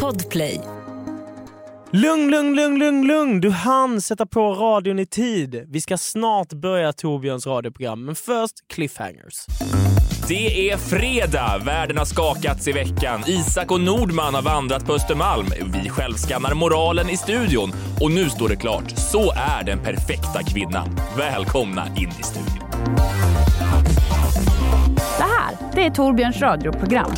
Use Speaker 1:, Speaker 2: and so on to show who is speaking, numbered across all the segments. Speaker 1: Podplay.
Speaker 2: Lugn, lugn, lugn, lugn, lugn. Du hann sätta på radion i tid. Vi ska snart börja Torbjörns radioprogram, men först cliffhangers.
Speaker 3: Det är fredag! Världen har skakats i veckan. Isak och Nordman har vandrat på Östermalm. Vi självskannar moralen i studion. Och nu står det klart. Så är den perfekta kvinnan. Välkomna in i studion.
Speaker 4: Det här, det är Torbjörns radioprogram.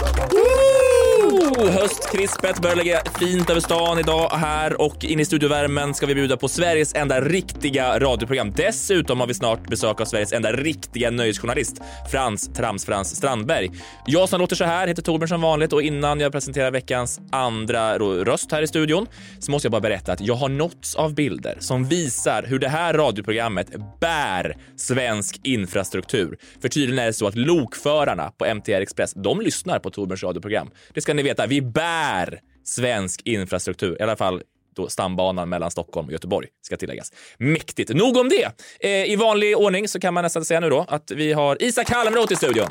Speaker 3: Oh, höstkrispet börjar lägga fint över stan idag här och in i studiovärmen ska vi bjuda på Sveriges enda riktiga radioprogram. Dessutom har vi snart besök av Sveriges enda riktiga nöjesjournalist, Frans Tramsfrans Strandberg. Jag som låter så här heter Torbjörn som vanligt och innan jag presenterar veckans andra ro- röst här i studion så måste jag bara berätta att jag har nåtts av bilder som visar hur det här radioprogrammet bär svensk infrastruktur. För tydligen är det så att lokförarna på MTR Express, de lyssnar på Torbjörns radioprogram. Det ska ni veta, vi bär svensk infrastruktur, i alla fall då stambanan mellan Stockholm och Göteborg ska tilläggas. Mäktigt! Nog om det! Eh, I vanlig ordning så kan man nästan säga nu då att vi har Isak Halmroth i studion.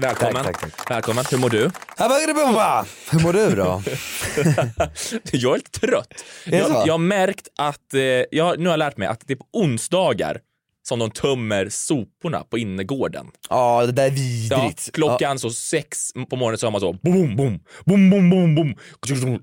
Speaker 3: Välkommen.
Speaker 5: Tack, tack, tack.
Speaker 3: Välkommen. Hur mår du?
Speaker 5: Hur mår du då?
Speaker 3: Jag är lite trött.
Speaker 5: det
Speaker 3: jag,
Speaker 5: så?
Speaker 3: jag har märkt att, eh, jag, har- nu har jag lärt mig att det är på onsdagar som de tömmer soporna på innergården.
Speaker 5: Ja, det där är
Speaker 3: Ja,
Speaker 5: vidrigt. Ja,
Speaker 3: klockan så sex på morgonen så har man så boom, boom, boom, boom, boom, boom.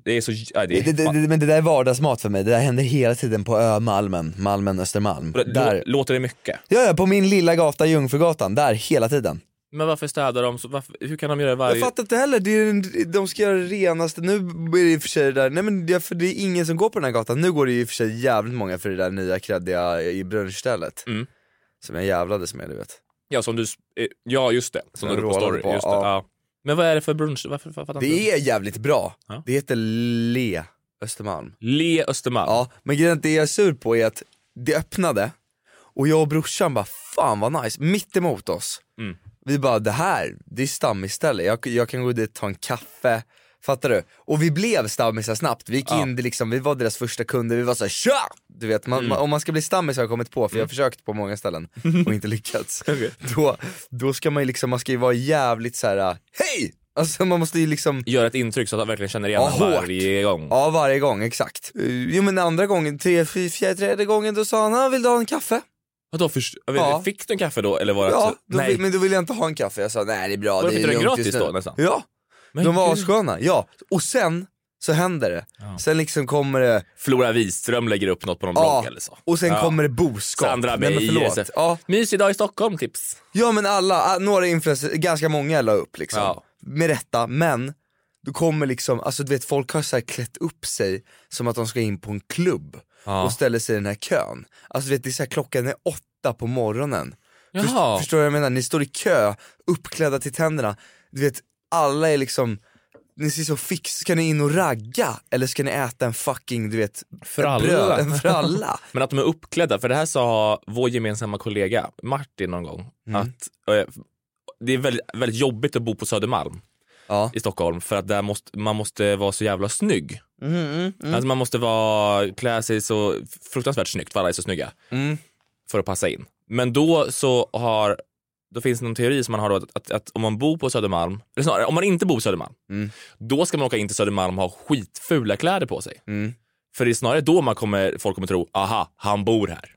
Speaker 3: Det är så... Ja, det
Speaker 5: det,
Speaker 3: är,
Speaker 5: det, det, men det där är vardagsmat för mig, det där händer hela tiden på Ömalmen, Malmen, Östermalm.
Speaker 3: Lå-
Speaker 5: Där.
Speaker 3: Låter det mycket?
Speaker 5: Ja, ja, på min lilla gata Jungfrugatan, där hela tiden.
Speaker 3: Men varför städar de? Så, varför, hur kan de göra det varje...
Speaker 5: Jag fattar inte heller, det är, en- de ska göra det renaste, nu är det i och för sig det där, nej men det, för det är ingen som går på den här gatan, nu går det ju i och för sig jävligt många för det där nya kreddiga i brunchstället.
Speaker 3: Mm.
Speaker 5: Som jag jävlades med du vet.
Speaker 3: Ja, som du... s- eh, Ja, just det. Som
Speaker 5: Jag
Speaker 3: du på
Speaker 5: rålade
Speaker 3: story.
Speaker 5: på,
Speaker 3: just det,
Speaker 5: ja.
Speaker 3: ja. Men vad är det för brunch? Varför fattar inte du?
Speaker 5: Det är jävligt bra,
Speaker 3: Ja.
Speaker 5: det heter Le Östermalm.
Speaker 3: Le Östermalm.
Speaker 5: Ja, men grejen är att det jag är sur på är att det öppnade och jag och brorsan bara fan vad nice, mitt emot oss.
Speaker 3: Mm.
Speaker 5: Vi bara det här, det är stammisställe, jag, jag kan gå dit och ta en kaffe, fattar du? Och vi blev stammisar snabbt, vi gick
Speaker 3: Ja.
Speaker 5: in det liksom, vi var deras första kunder, vi var såhär tja! Du vet, man,
Speaker 3: Mm.
Speaker 5: man, om man ska bli stammis har jag kommit på, för jag har försökt på många ställen och inte lyckats. då, då ska man ju liksom, man ska ju vara jävligt så här: hej! Alltså man måste ju liksom
Speaker 3: Gör ett intryck så att han verkligen känner igen
Speaker 5: Ja,
Speaker 3: honom
Speaker 5: hårt.
Speaker 3: varje gång.
Speaker 5: Ja, varje gång, exakt. Eh, Jo men andra gången, tre, fy- fjärde, tredje gången, då sa han, "Ah, vill du ha en kaffe?
Speaker 3: Vadå, först, jag vet,
Speaker 5: Ja.
Speaker 3: inte, fick du en kaffe då? Eller var det
Speaker 5: Ja,
Speaker 3: så,
Speaker 5: då,
Speaker 3: Alltså, nej.
Speaker 5: vi- men då ville jag inte ha en kaffe. Jag sa, nej det är bra,
Speaker 3: Var det
Speaker 5: det är
Speaker 3: inte det
Speaker 5: lugnt
Speaker 3: gratis
Speaker 5: just nu."
Speaker 3: då, nästan?
Speaker 5: Ja,
Speaker 3: Men
Speaker 5: de var
Speaker 3: gud.
Speaker 5: assköna, ja. Och sen så händer det. Sen liksom kommer det,
Speaker 3: Flora Wiström lägger upp något på någon
Speaker 5: ja,
Speaker 3: blogg eller så.
Speaker 5: och sen
Speaker 3: ja.
Speaker 5: kommer det boskap.
Speaker 3: Sandra
Speaker 5: Nej, men
Speaker 3: Beijer.
Speaker 5: förlåt.
Speaker 3: så-
Speaker 5: Ja,
Speaker 3: Mysig dag i Stockholm, tips.
Speaker 5: ja men alla, ah, några influencers, ganska många la upp liksom.
Speaker 3: Ja.
Speaker 5: Med rätta, men då kommer liksom, alltså du vet folk har så här klätt upp sig som att de ska in på en klubb och ställer sig i den här kön. Alltså du vet det är så här, klockan är åtta på morgonen. Först,
Speaker 3: Jaha.
Speaker 5: förstår du vad jag menar? Ni står i kö, uppklädda till tänderna. Du vet, alla är liksom, ni ser så fix, ska ni in och ragga? Eller ska ni äta en fucking, du vet,
Speaker 3: alla.
Speaker 5: bröd, en fralla?
Speaker 3: Men att de är uppklädda, för det här sa vår gemensamma kollega Martin någon gång.
Speaker 5: Mm.
Speaker 3: Att eh, Det är väldigt, väldigt jobbigt att bo på Södermalm
Speaker 5: ja.
Speaker 3: i Stockholm för att där måste, man måste vara så jävla snygg.
Speaker 5: Mm,
Speaker 3: Alltså man måste vara, klä sig så fruktansvärt snyggt för alla är så snygga
Speaker 5: Mm,
Speaker 3: för att passa in. Men då så har då finns det någon teori som man har då att, att, att om man bor på Södermalm, eller snarare om man inte bor på Södermalm,
Speaker 5: Mm.
Speaker 3: då ska man åka in till Södermalm och ha skitfula kläder på sig.
Speaker 5: Mm.
Speaker 3: För det är snarare då man kommer, folk kommer tro, aha, han bor här.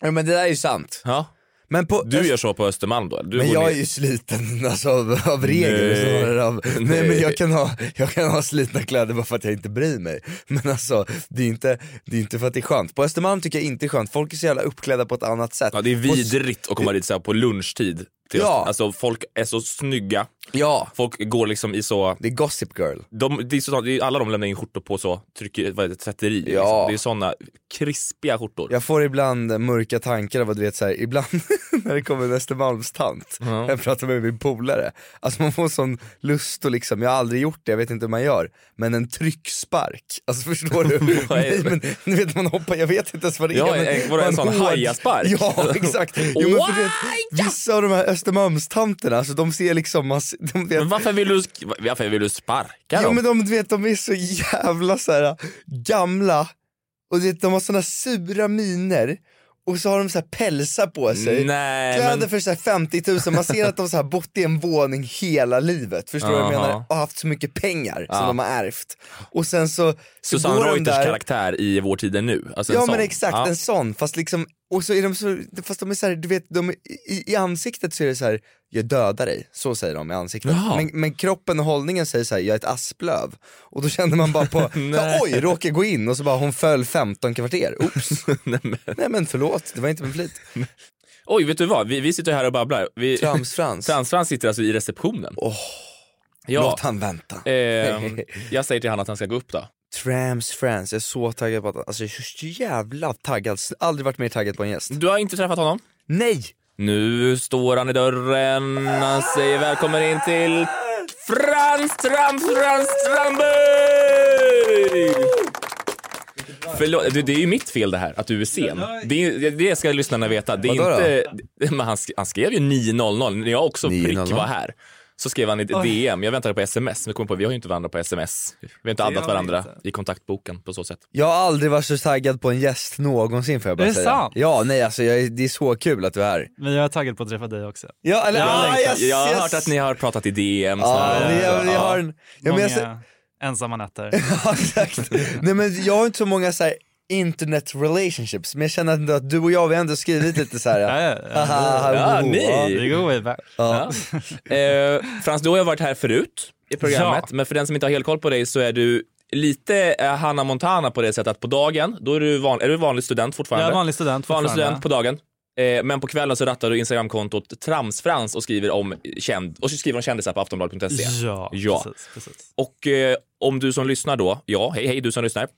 Speaker 5: ja men det där är ju sant.
Speaker 3: Ja.
Speaker 5: Men på,
Speaker 3: Du gör så på Östermalm då? eller? Du
Speaker 5: men
Speaker 3: bor
Speaker 5: jag är
Speaker 3: ner-
Speaker 5: ju sliten alltså, av, av regler
Speaker 3: Nej.
Speaker 5: snarare av, nej. men
Speaker 3: Nej.
Speaker 5: jag kan, ha, jag kan ha slitna kläder bara för att jag inte bryr mig. Men alltså det är inte, det är inte för att det är skönt. På Östermalm tycker jag inte det är skönt, folk är så jävla uppklädda på ett annat sätt.
Speaker 3: Ja, det är
Speaker 5: På-
Speaker 3: vidrigt att komma dit så här på lunchtid. Till
Speaker 5: Ja.
Speaker 3: Öster- Alltså folk är så snygga,
Speaker 5: Ja,
Speaker 3: folk går liksom i så...
Speaker 5: det är gossip girl.
Speaker 3: De, det är så det är, alla de lämnar in skjortor på så trycker, vad är det, tvätteri.
Speaker 5: Ja.
Speaker 3: Liksom. Det är såna krispiga skjortor.
Speaker 5: Jag får ibland mörka tankar av att du vet såhär, ibland när det kommer en Östermalmstant, jag pratar med min polare, alltså man får sån lust och liksom, jag har aldrig gjort det, jag vet inte hur man gör, men en tryckspark, alltså förstår du?
Speaker 3: Vad är det?
Speaker 5: Nej, men, du vet man hoppar, jag vet inte ens vad det
Speaker 3: Ja,
Speaker 5: är. Men,
Speaker 3: en- vadå, en
Speaker 5: man
Speaker 3: sån
Speaker 5: hård-
Speaker 3: hajaspark?
Speaker 5: Ja exakt, jo, men för du vet,
Speaker 3: Wow!
Speaker 5: vissa av de här Östermalmstanterna, alltså de ser liksom, man, ser- de vet,
Speaker 3: Men varför vill du, sk- varför vill du sparka
Speaker 5: Jo
Speaker 3: dem?
Speaker 5: men de, du vet, de är så äh, jävla så här, gamla och du vet, de har såna sura miner och så har de så här pälsar på sig.
Speaker 3: Nej,
Speaker 5: Kläder
Speaker 3: men...
Speaker 5: för så här 50 000, man ser att de så här bott i en våning hela livet, förstår du vad jag
Speaker 3: Aha.
Speaker 5: menar? Och haft så mycket pengar
Speaker 3: Ja.
Speaker 5: som de har ärvt. Och sen så, så
Speaker 3: Susanne
Speaker 5: går de
Speaker 3: Reuters
Speaker 5: där,
Speaker 3: karaktär i Vår tid är nu. Alltså en
Speaker 5: Ja
Speaker 3: sån.
Speaker 5: men exakt,
Speaker 3: Ja.
Speaker 5: en sån, fast liksom, och så är de så, fast de är så här, du vet, de, är- i, i ansiktet så är det så här. jag dödar dig, så säger de i ansiktet.
Speaker 3: Jaha.
Speaker 5: Men, men kroppen och hållningen säger så här, jag är ett asplöv. Och då kände man bara på,
Speaker 3: Nej.
Speaker 5: oj, råkar gå in och så bara hon föll 15 kvarter, oops.
Speaker 3: Nej, men...
Speaker 5: Nej men förlåt, det var inte med flit.
Speaker 3: Oj, vet du vad? Vi, vi sitter här och babblar. Vi...
Speaker 5: Tramsfrans,
Speaker 3: Transfrans sitter alltså i receptionen.
Speaker 5: Åh,
Speaker 3: ja.
Speaker 5: låt han vänta.
Speaker 3: Ehm, jag säger till han att han ska gå upp då.
Speaker 5: Trams Friends, jag är så taggad på att, alltså jag är så jävla taggad, aldrig varit mer taggad på en gäst.
Speaker 3: Du har inte träffat honom?
Speaker 5: Nej!
Speaker 3: Nu står han i dörren. Han säger välkommen in till Frans Tram Frans Tramberg! Förlåt, det, det är ju mitt fel det här, att du är sen. Det, är- det ska lyssnarna veta. Det är
Speaker 5: Vadå då?
Speaker 3: inte, men han, sk- han skrev ju 9.00 när jag också
Speaker 5: 9.00.
Speaker 3: prick var här. Så skrev han i ett DM. Jag väntade på sms, men kom på vi har ju inte varandra på sms. Vi har inte addat varandra i kontaktboken på så sätt.
Speaker 5: Jag har aldrig varit så taggad på en gäst någonsin får jag bara
Speaker 1: Är det
Speaker 5: säga.
Speaker 1: sant?
Speaker 5: Ja, nej alltså jag, är- det är så kul att du är här.
Speaker 1: Men jag är taggad på att träffa dig också.
Speaker 5: Ja, eller,
Speaker 3: Jag
Speaker 5: ah,
Speaker 3: längtar.
Speaker 5: yes,
Speaker 3: jag har
Speaker 5: yes.
Speaker 3: hört att ni har pratat i DM.
Speaker 5: Ja,
Speaker 3: snarare.
Speaker 5: vi, har- vi
Speaker 3: Ja.
Speaker 5: har en... Ja, men
Speaker 1: Många
Speaker 5: jag, ser-
Speaker 1: ensamma nätter.
Speaker 5: ja, exakt. nej men jag har inte så många så här, internet relationships, men jag känner ändå att du och jag vi har ändå skrivit lite så här.
Speaker 1: Ja, ja, ja.
Speaker 5: haha,
Speaker 3: Ja,
Speaker 5: woho,
Speaker 3: ni.
Speaker 5: ja.
Speaker 1: Vi går way back.
Speaker 5: Ja.
Speaker 3: Ja. Eh, Frans, du har ju varit här förut i programmet, men för den som inte har helt koll på dig så är du lite eh, Hanna Montana på det sättet att på dagen, då är du, van, är du vanlig student fortfarande.
Speaker 1: Jag är vanlig student
Speaker 3: Vanlig
Speaker 1: fortfarande.
Speaker 3: student på dagen. Eh, men på kvällen så rattar du Instagramkontot Tramsfrans och skriver om, känd, och så skriver om kändisar på aftonbladet.se.
Speaker 1: Ja,
Speaker 3: Ja.
Speaker 1: precis. precis.
Speaker 3: Och eh, om du som lyssnar då, ja, hej hej du som lyssnar,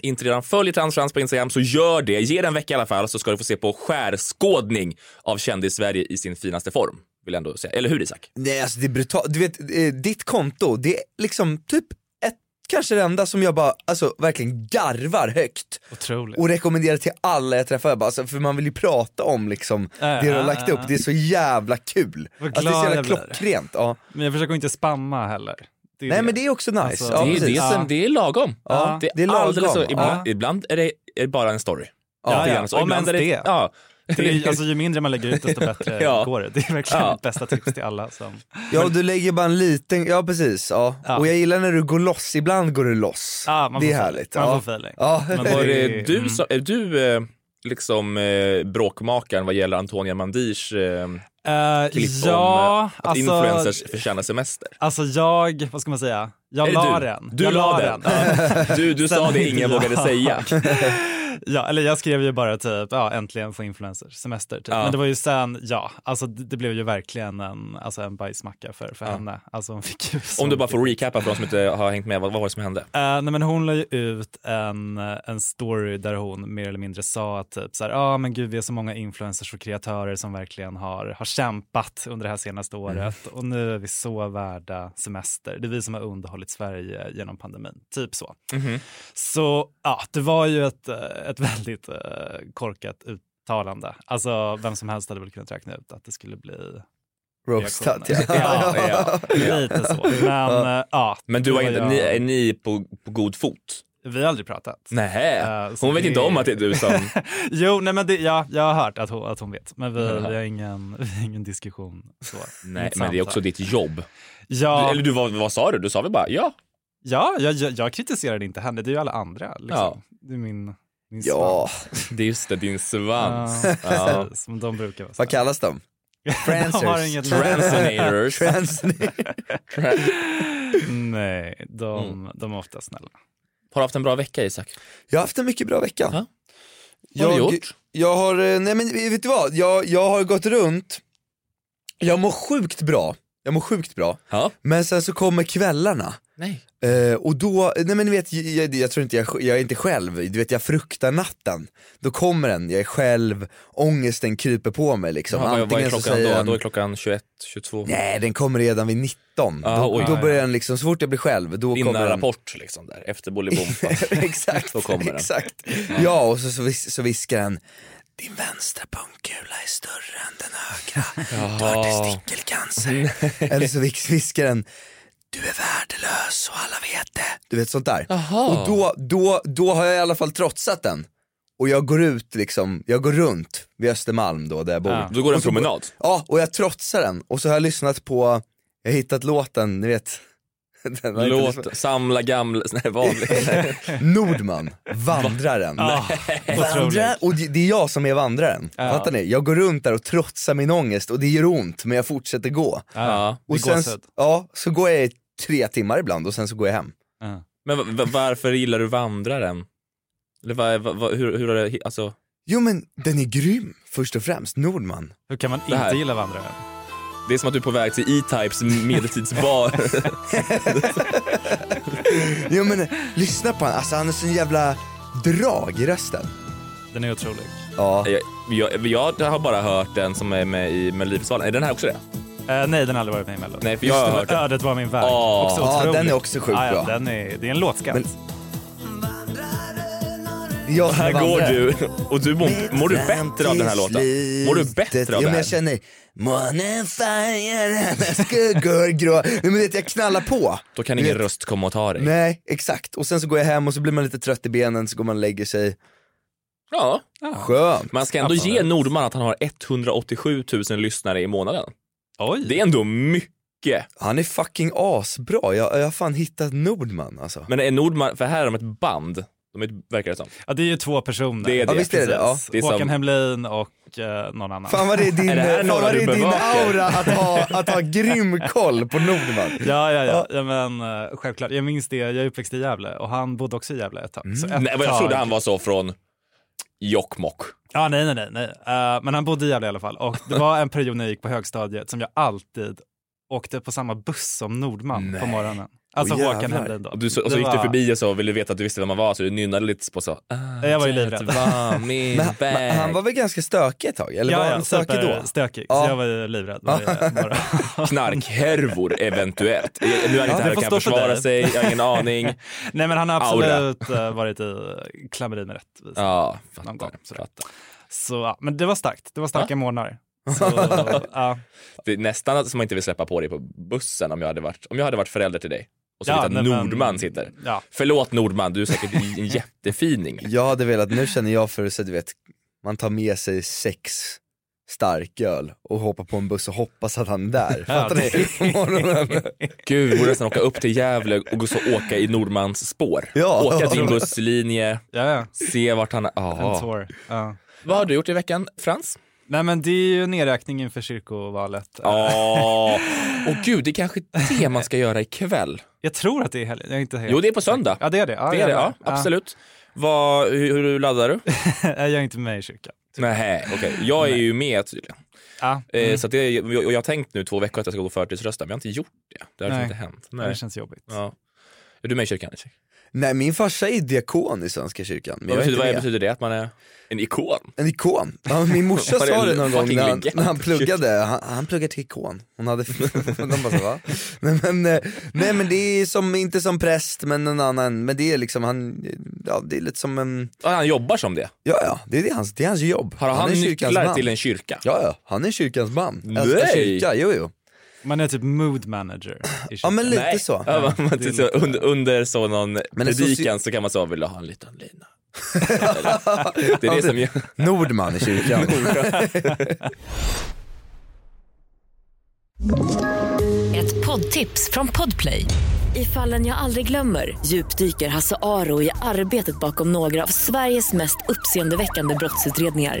Speaker 3: inte redan följer Transfrans på Instagram så gör det. Ge den en vecka i alla fall så ska du få se på skärskådning av kändis-Sverige i sin finaste form. Vill jag ändå säga. Eller hur Isak?
Speaker 5: Nej alltså det är brutalt, du vet eh, ditt konto, det är liksom typ ett, kanske det enda som jag bara, alltså verkligen garvar högt
Speaker 1: Otroligt.
Speaker 5: och rekommenderar till alla jag träffar, Jag bara, alltså, för man vill ju prata om liksom det du har lagt upp, det är så jävla kul.
Speaker 1: Vad
Speaker 5: Alltså, det är så
Speaker 1: glad
Speaker 5: jävla
Speaker 1: jag blir.
Speaker 5: klockrent. Ja.
Speaker 1: Men jag försöker inte spamma heller. Det är
Speaker 5: Nej
Speaker 1: det.
Speaker 5: men det är också nice.
Speaker 1: Alltså,
Speaker 5: ja,
Speaker 3: det, är,
Speaker 5: precis.
Speaker 3: det, är,
Speaker 1: Ja.
Speaker 3: det är lagom.
Speaker 5: Ja, det är lagom.
Speaker 3: alldeles så.
Speaker 5: Ja.
Speaker 3: Ibland, ibland är, det, är det bara en story.
Speaker 1: Ja,
Speaker 3: Lite
Speaker 1: ja.
Speaker 3: grann så.
Speaker 1: Om
Speaker 3: Ibland
Speaker 1: ens
Speaker 3: är
Speaker 1: det.
Speaker 3: Ja.
Speaker 1: Det är, alltså, ju mindre man lägger ut desto bättre
Speaker 3: Ja.
Speaker 1: går det. Det är verkligen
Speaker 3: Ja.
Speaker 1: mitt bästa tips till alla. Som...
Speaker 5: Ja och du lägger bara en liten, ja precis. Ja.
Speaker 1: Ja.
Speaker 5: Och jag gillar när du går loss, ibland går du loss.
Speaker 1: Ja, man
Speaker 5: det
Speaker 1: får
Speaker 5: är
Speaker 1: feeling.
Speaker 5: härligt.
Speaker 1: Man
Speaker 5: ja.
Speaker 1: får feeling.
Speaker 5: Ja.
Speaker 1: Men
Speaker 3: Var det
Speaker 1: Mm.
Speaker 3: du som, är du eh, liksom eh, bråkmakaren vad gäller Antonia Mandirs eh,
Speaker 1: Eh,
Speaker 3: klipp om eh,
Speaker 1: ja,
Speaker 3: att influencers förtjänar semester?
Speaker 1: alltså jag, vad ska man säga, jag
Speaker 3: Är det
Speaker 1: la
Speaker 3: du?
Speaker 1: den.
Speaker 3: Du
Speaker 1: jag
Speaker 3: la den. Ja. Du, du
Speaker 1: Sen
Speaker 3: sa
Speaker 1: har
Speaker 3: det
Speaker 1: inte
Speaker 3: ingen
Speaker 1: jag.
Speaker 3: vågade säga.
Speaker 1: Ja, eller jag skrev ju bara typ, ja äntligen få influencer, semester typ.
Speaker 3: Ja.
Speaker 1: Men det var ju sen, ja, alltså det, det blev ju verkligen en, alltså, en bajsmacka för, för
Speaker 3: Ja.
Speaker 1: henne. Alltså hon fick ju så
Speaker 3: Om du bara
Speaker 1: mycket-
Speaker 3: får recapa för de som inte har hängt med, vad, vad var det som hände?
Speaker 1: Eh, nej men hon la ju ut en, eh, en story där hon mer eller mindre sa att typ så här, ah, men gud vi är så många influencers och kreatörer som verkligen har, har kämpat under det här
Speaker 3: Mm.
Speaker 1: senaste året och nu är vi så värda semester. Det är vi som har underhållit Sverige genom pandemin, typ så. Så ja, det var ju ett, eh, ett väldigt eh, korkat uttalande. Alltså vem som helst hade väl kunnat räkna ut att det skulle bli
Speaker 5: Roastad ja.
Speaker 1: reaktioner. Ja,
Speaker 3: Ja.
Speaker 1: lite så. Men eh, ja,
Speaker 3: Men du
Speaker 1: det
Speaker 3: har
Speaker 1: var
Speaker 3: inte,
Speaker 1: jag-
Speaker 3: ni, är ni på, på god fot?
Speaker 1: vi har aldrig pratat.
Speaker 3: Nej.
Speaker 1: Eh, så
Speaker 3: Hon vet
Speaker 1: det-
Speaker 3: inte om att det är du som...
Speaker 1: Jo, nej men det, ja, jag har hört att hon, att hon vet, men vi,
Speaker 3: Ja.
Speaker 1: vi, har, ingen, vi har ingen diskussion. Så.
Speaker 3: Nej,
Speaker 1: Inget
Speaker 3: men det är också
Speaker 1: samtal.
Speaker 3: ditt jobb. Du,
Speaker 1: Ja,
Speaker 3: eller du, vad, vad sa du? Du sa väl bara ja?
Speaker 1: ja jag, jag, jag kritiserade inte henne, det är ju alla andra. Liksom.
Speaker 3: Ja.
Speaker 1: Det är min, min
Speaker 5: ja,
Speaker 3: Det är just det, din svans.
Speaker 1: svans. Ja,
Speaker 3: Ja.
Speaker 1: precis, Som de brukar vara.
Speaker 5: vad kallas de?
Speaker 1: De har inget
Speaker 3: Transonators.
Speaker 5: Transnators.
Speaker 1: Nej, de,
Speaker 3: Mm.
Speaker 1: de är ofta snälla.
Speaker 3: Har du haft en bra vecka Isak?
Speaker 5: Jag har haft en mycket bra vecka.
Speaker 3: Ja.
Speaker 5: Jag,
Speaker 3: Vad har du gjort?
Speaker 5: Jag har, eh, nej men vet du vad, jag, jag har gått runt, jag mår sjukt bra, jag mår sjukt bra,
Speaker 3: Ja.
Speaker 5: men sen så kommer kvällarna.
Speaker 3: Nej.
Speaker 5: Eh, och då, nej men ni vet, jag, jag, jag tror inte jag, jag är inte själv, du vet jag fruktar natten. Då kommer den, jag är själv, ångesten kryper på mig liksom.
Speaker 3: Ja, vad, vad är
Speaker 5: Antingen så
Speaker 3: klockan
Speaker 5: säger
Speaker 3: då?
Speaker 5: den-
Speaker 3: Då är klockan 21, 22.
Speaker 5: Nej den kommer redan vid 19.
Speaker 3: Ah,
Speaker 5: då,
Speaker 3: oj.
Speaker 5: då
Speaker 1: Ah,
Speaker 5: börjar den liksom, så fort jag blir själv, då
Speaker 3: Innan
Speaker 5: kommer den.
Speaker 3: Rapport liksom där, efter Bolibom.
Speaker 5: exakt,
Speaker 3: Då kommer den.
Speaker 5: exakt. Ja och så, så, vis, så viskar den, din vänstra pungkula är större än den högra, du har testikelcancer.
Speaker 1: Mm.
Speaker 5: Eller så vis- viskar den, du är värdelös och alla vet det. Du vet sånt där.
Speaker 3: Jaha.
Speaker 5: Och då, då, då har jag i alla fall trotsat den. och jag går ut liksom, jag går runt vid Östermalm då där jag bor.
Speaker 1: Ja.
Speaker 3: Då går det en
Speaker 5: Och så-
Speaker 3: promenad.
Speaker 5: Ja, och jag trotsar den och så har jag lyssnat på, jag har hittat låten, ni vet. Den har jag inte lyssnat-
Speaker 3: Låt samla gamla, nej vanligt.
Speaker 5: Nordman, vandraren.
Speaker 1: Ah, otroligt.
Speaker 5: Vandra, och det det är jag som är vandraren.
Speaker 1: Ja.
Speaker 5: Fattar ni? Jag går runt där och trotsar min ångest och det gör ont men jag fortsätter gå.
Speaker 3: Ja.
Speaker 5: Och
Speaker 1: Det är gåshud.
Speaker 5: ja, så går jag i tre timmar ibland och sen så går jag hem.
Speaker 1: Ja.
Speaker 3: Men va- va- varför gillar du vandraren? Eller va, va, va, hur, hur har det, alltså,
Speaker 5: Jo men den är grym först och främst, Nordman.
Speaker 1: Hur kan man
Speaker 3: Det här.
Speaker 1: inte gilla vandrare?
Speaker 3: det är som att du är på väg till E-Types medeltidsbar.
Speaker 5: Jo men eh, lyssna på han, alltså han är sån jävla drag i rösten.
Speaker 1: Den är otrolig.
Speaker 5: Ja,
Speaker 3: jag, jag, jag har bara hört den som är med i Melodifestivalen. Är den här också det?
Speaker 1: Eh, nej, den har aldrig varit med i Mello.
Speaker 3: Nej, för jag har hört den.
Speaker 1: Ödet var min väg.
Speaker 3: Åh.
Speaker 1: Också
Speaker 5: Ja,
Speaker 1: otrolig.
Speaker 5: den är också sjukt
Speaker 1: Ah, ja,
Speaker 5: bra.
Speaker 1: Den är, det är en låtskatt.
Speaker 5: Men- det är jag som är
Speaker 3: Här går
Speaker 5: vandraren.
Speaker 3: du och du mår, mår du bättre av den här låten? Mår du bättre av
Speaker 5: ja,
Speaker 3: det
Speaker 5: men jag
Speaker 3: här?
Speaker 5: känner, månen färgar hennes skuggor grå. Nej men vet, du, jag knallar på.
Speaker 3: Då kan
Speaker 5: Du
Speaker 3: ingen
Speaker 5: vet,
Speaker 3: röst komma och ta dig.
Speaker 5: Nej, exakt. Och sen så går jag hem och så blir man lite trött i benen, så går man och lägger sig.
Speaker 3: Ja,
Speaker 5: Skönt.
Speaker 3: man ska ändå
Speaker 1: Absolut.
Speaker 3: ge Nordman att han har 187 000 lyssnare i månaden.
Speaker 1: Oj.
Speaker 3: Det är ändå mycket.
Speaker 5: Han är fucking asbra, jag, jag har fan hittat Nordman alltså.
Speaker 3: Men är Nordman, för här är de ett band. De är, ett- verkar det som.
Speaker 1: Ja, det är ju två personer.
Speaker 3: Det är det. Ja,
Speaker 5: visst är det det, ja.
Speaker 1: Precis.
Speaker 3: Det är som-
Speaker 1: Håkan Hemlin och eh, någon annan.
Speaker 5: Fan vad det är din,
Speaker 3: Är det här
Speaker 5: fan
Speaker 3: några
Speaker 5: vad det
Speaker 3: du
Speaker 5: är din
Speaker 3: bevakar?
Speaker 5: aura att ha, att ha grym koll på Nordman.
Speaker 1: Ja, ja, ja. ja men, eh, självklart. Jag minns det, jag är uppväxt i Gävle och han bodde också i Gävle ett tag. Så
Speaker 5: Mm.
Speaker 1: ett
Speaker 3: Nej, vad jag
Speaker 1: tag-
Speaker 3: trodde han var så från Jokkmokk.
Speaker 1: Ja, nej, nej, nej. nej. Eh, men han bodde i Gävle i alla fall. Och det var en period när jag gick på högstadiet som jag alltid åkte på samma buss som Nordman på
Speaker 5: Nej.
Speaker 1: morgonen. Alltså
Speaker 5: Åh,
Speaker 1: Håkan
Speaker 5: jävlar.
Speaker 1: Hemlin då.
Speaker 3: Och, du, så, och
Speaker 1: Det
Speaker 3: så gick du
Speaker 1: var-
Speaker 3: förbi och så ville du veta att du visste vem man var så du nynnade lite på så. Ah,
Speaker 1: Jag var ju
Speaker 3: det
Speaker 1: livrädd.
Speaker 3: var min
Speaker 5: Men,
Speaker 3: bag.
Speaker 5: men han var väl ganska stökig ett tag, eller var
Speaker 1: Ja,
Speaker 5: han
Speaker 1: ja,
Speaker 5: stökig då?
Speaker 1: superstökig.
Speaker 5: Ja.
Speaker 1: Så jag var ju livrädd. Var det bara.
Speaker 3: Knarkhärvor eventuellt. Jag- Nu är han
Speaker 1: Ja,
Speaker 3: inte
Speaker 1: det
Speaker 3: här
Speaker 1: får
Speaker 3: och kan
Speaker 1: stå för
Speaker 3: försvara
Speaker 1: dig.
Speaker 3: sig, jag har ingen aning.
Speaker 1: Nej, men han har
Speaker 3: Aura.
Speaker 1: absolut eh, varit i klammeri med rättvisa.
Speaker 3: Ja,
Speaker 1: Någon
Speaker 3: fattar.
Speaker 1: gång, sådär.
Speaker 3: fattar.
Speaker 1: Så, ja, men det var starkt. Det var starka månader. Så, ja.
Speaker 3: Det är nästan att- som man inte vill släppa på dig på bussen om jag hade varit, om jag hade varit förälder till dig. Och så
Speaker 1: Ja,
Speaker 3: vet att
Speaker 1: nej, men-
Speaker 3: Nordman sitter.
Speaker 1: Ja.
Speaker 3: Förlåt Nordman, du är säkert en jättefining.
Speaker 5: Jag hade velat, nu känner jag för så du vet, man tar med sig sex starköl och hoppar på en buss och hoppas att han är där. Fattar ni? På morgonen.
Speaker 3: Gud, vi borde nästan åka upp till Gävle och så åka i Nordmans spår.
Speaker 5: Ja.
Speaker 3: Åka din busslinje,
Speaker 1: Ja, ja.
Speaker 3: se vart han är.
Speaker 1: En
Speaker 3: Ja.
Speaker 1: tår. Ja.
Speaker 3: Vad har du gjort i veckan, Frans?
Speaker 1: Nej, men det är ju nedräkning inför kyrkovalet.
Speaker 3: Ja, och gud, det är kanske det man ska göra ikväll.
Speaker 1: Jag tror att det är helgen. Jag är inte helt.
Speaker 3: Jo, det är på söndag.
Speaker 1: Ja, det är det. Ja,
Speaker 3: Det är det, ja,
Speaker 1: jävlar.
Speaker 3: absolut. Vad, hur, hur laddar du?
Speaker 1: Nej, jag är inte med i kyrkan.
Speaker 3: Nej, okej. Jag är ju med tydligen.
Speaker 1: Ja.
Speaker 3: Eh,
Speaker 1: Mm.
Speaker 3: Så att det, och jag har tänkt nu två veckor att jag ska gå och förtidsrösta, men jag har inte gjort det. Det har liksom
Speaker 1: Nej.
Speaker 3: inte hänt.
Speaker 1: Det
Speaker 3: Nej.
Speaker 1: känns jobbigt.
Speaker 3: Ja. Är du med i kyrkan? Isak?
Speaker 5: Nej min farsa är diakon i Svenska kyrkan, men
Speaker 3: Vad
Speaker 5: jag är
Speaker 3: betyder,
Speaker 5: inte
Speaker 3: vad
Speaker 5: med.
Speaker 3: betyder det? Att man är en ikon?
Speaker 5: En ikon. Ja, men min morsa
Speaker 3: Var det
Speaker 5: sa
Speaker 3: en
Speaker 5: det någon gång
Speaker 3: fucking
Speaker 5: när han,
Speaker 3: legend?
Speaker 5: när han pluggade, han, han pluggade till ikon. Hon hade, de bara så, va? Nej men, eh, nej men det är som, inte som präst men en annan, men det är liksom han, ja det är lite som en,
Speaker 3: Ja, han jobbar som det.
Speaker 5: ja ja det är, det hans, det är hans jobb.
Speaker 3: Har han,
Speaker 5: är kyrkans
Speaker 3: nycklar
Speaker 5: man.
Speaker 3: till en kyrka?
Speaker 5: Ja ja, han är kyrkans man.
Speaker 3: Nej.
Speaker 5: Älskar kyrka, jo jo.
Speaker 1: Man är typ mood manager i
Speaker 5: Ja
Speaker 1: kyrkan.
Speaker 5: men lite så.
Speaker 3: Ja, man- man-
Speaker 1: det är
Speaker 3: typ
Speaker 1: lite-
Speaker 3: så under, under så någon
Speaker 5: det är så
Speaker 3: predikan så, kan man säga, vill du ha en liten lina? det är
Speaker 5: Ja,
Speaker 3: det som jag...
Speaker 5: Nordman i kyrkan.
Speaker 6: Ett poddtips från Podplay. I fallen jag aldrig glömmer djupdyker Hasse Aro i arbetet bakom några av Sveriges mest uppseendeväckande brottsutredningar.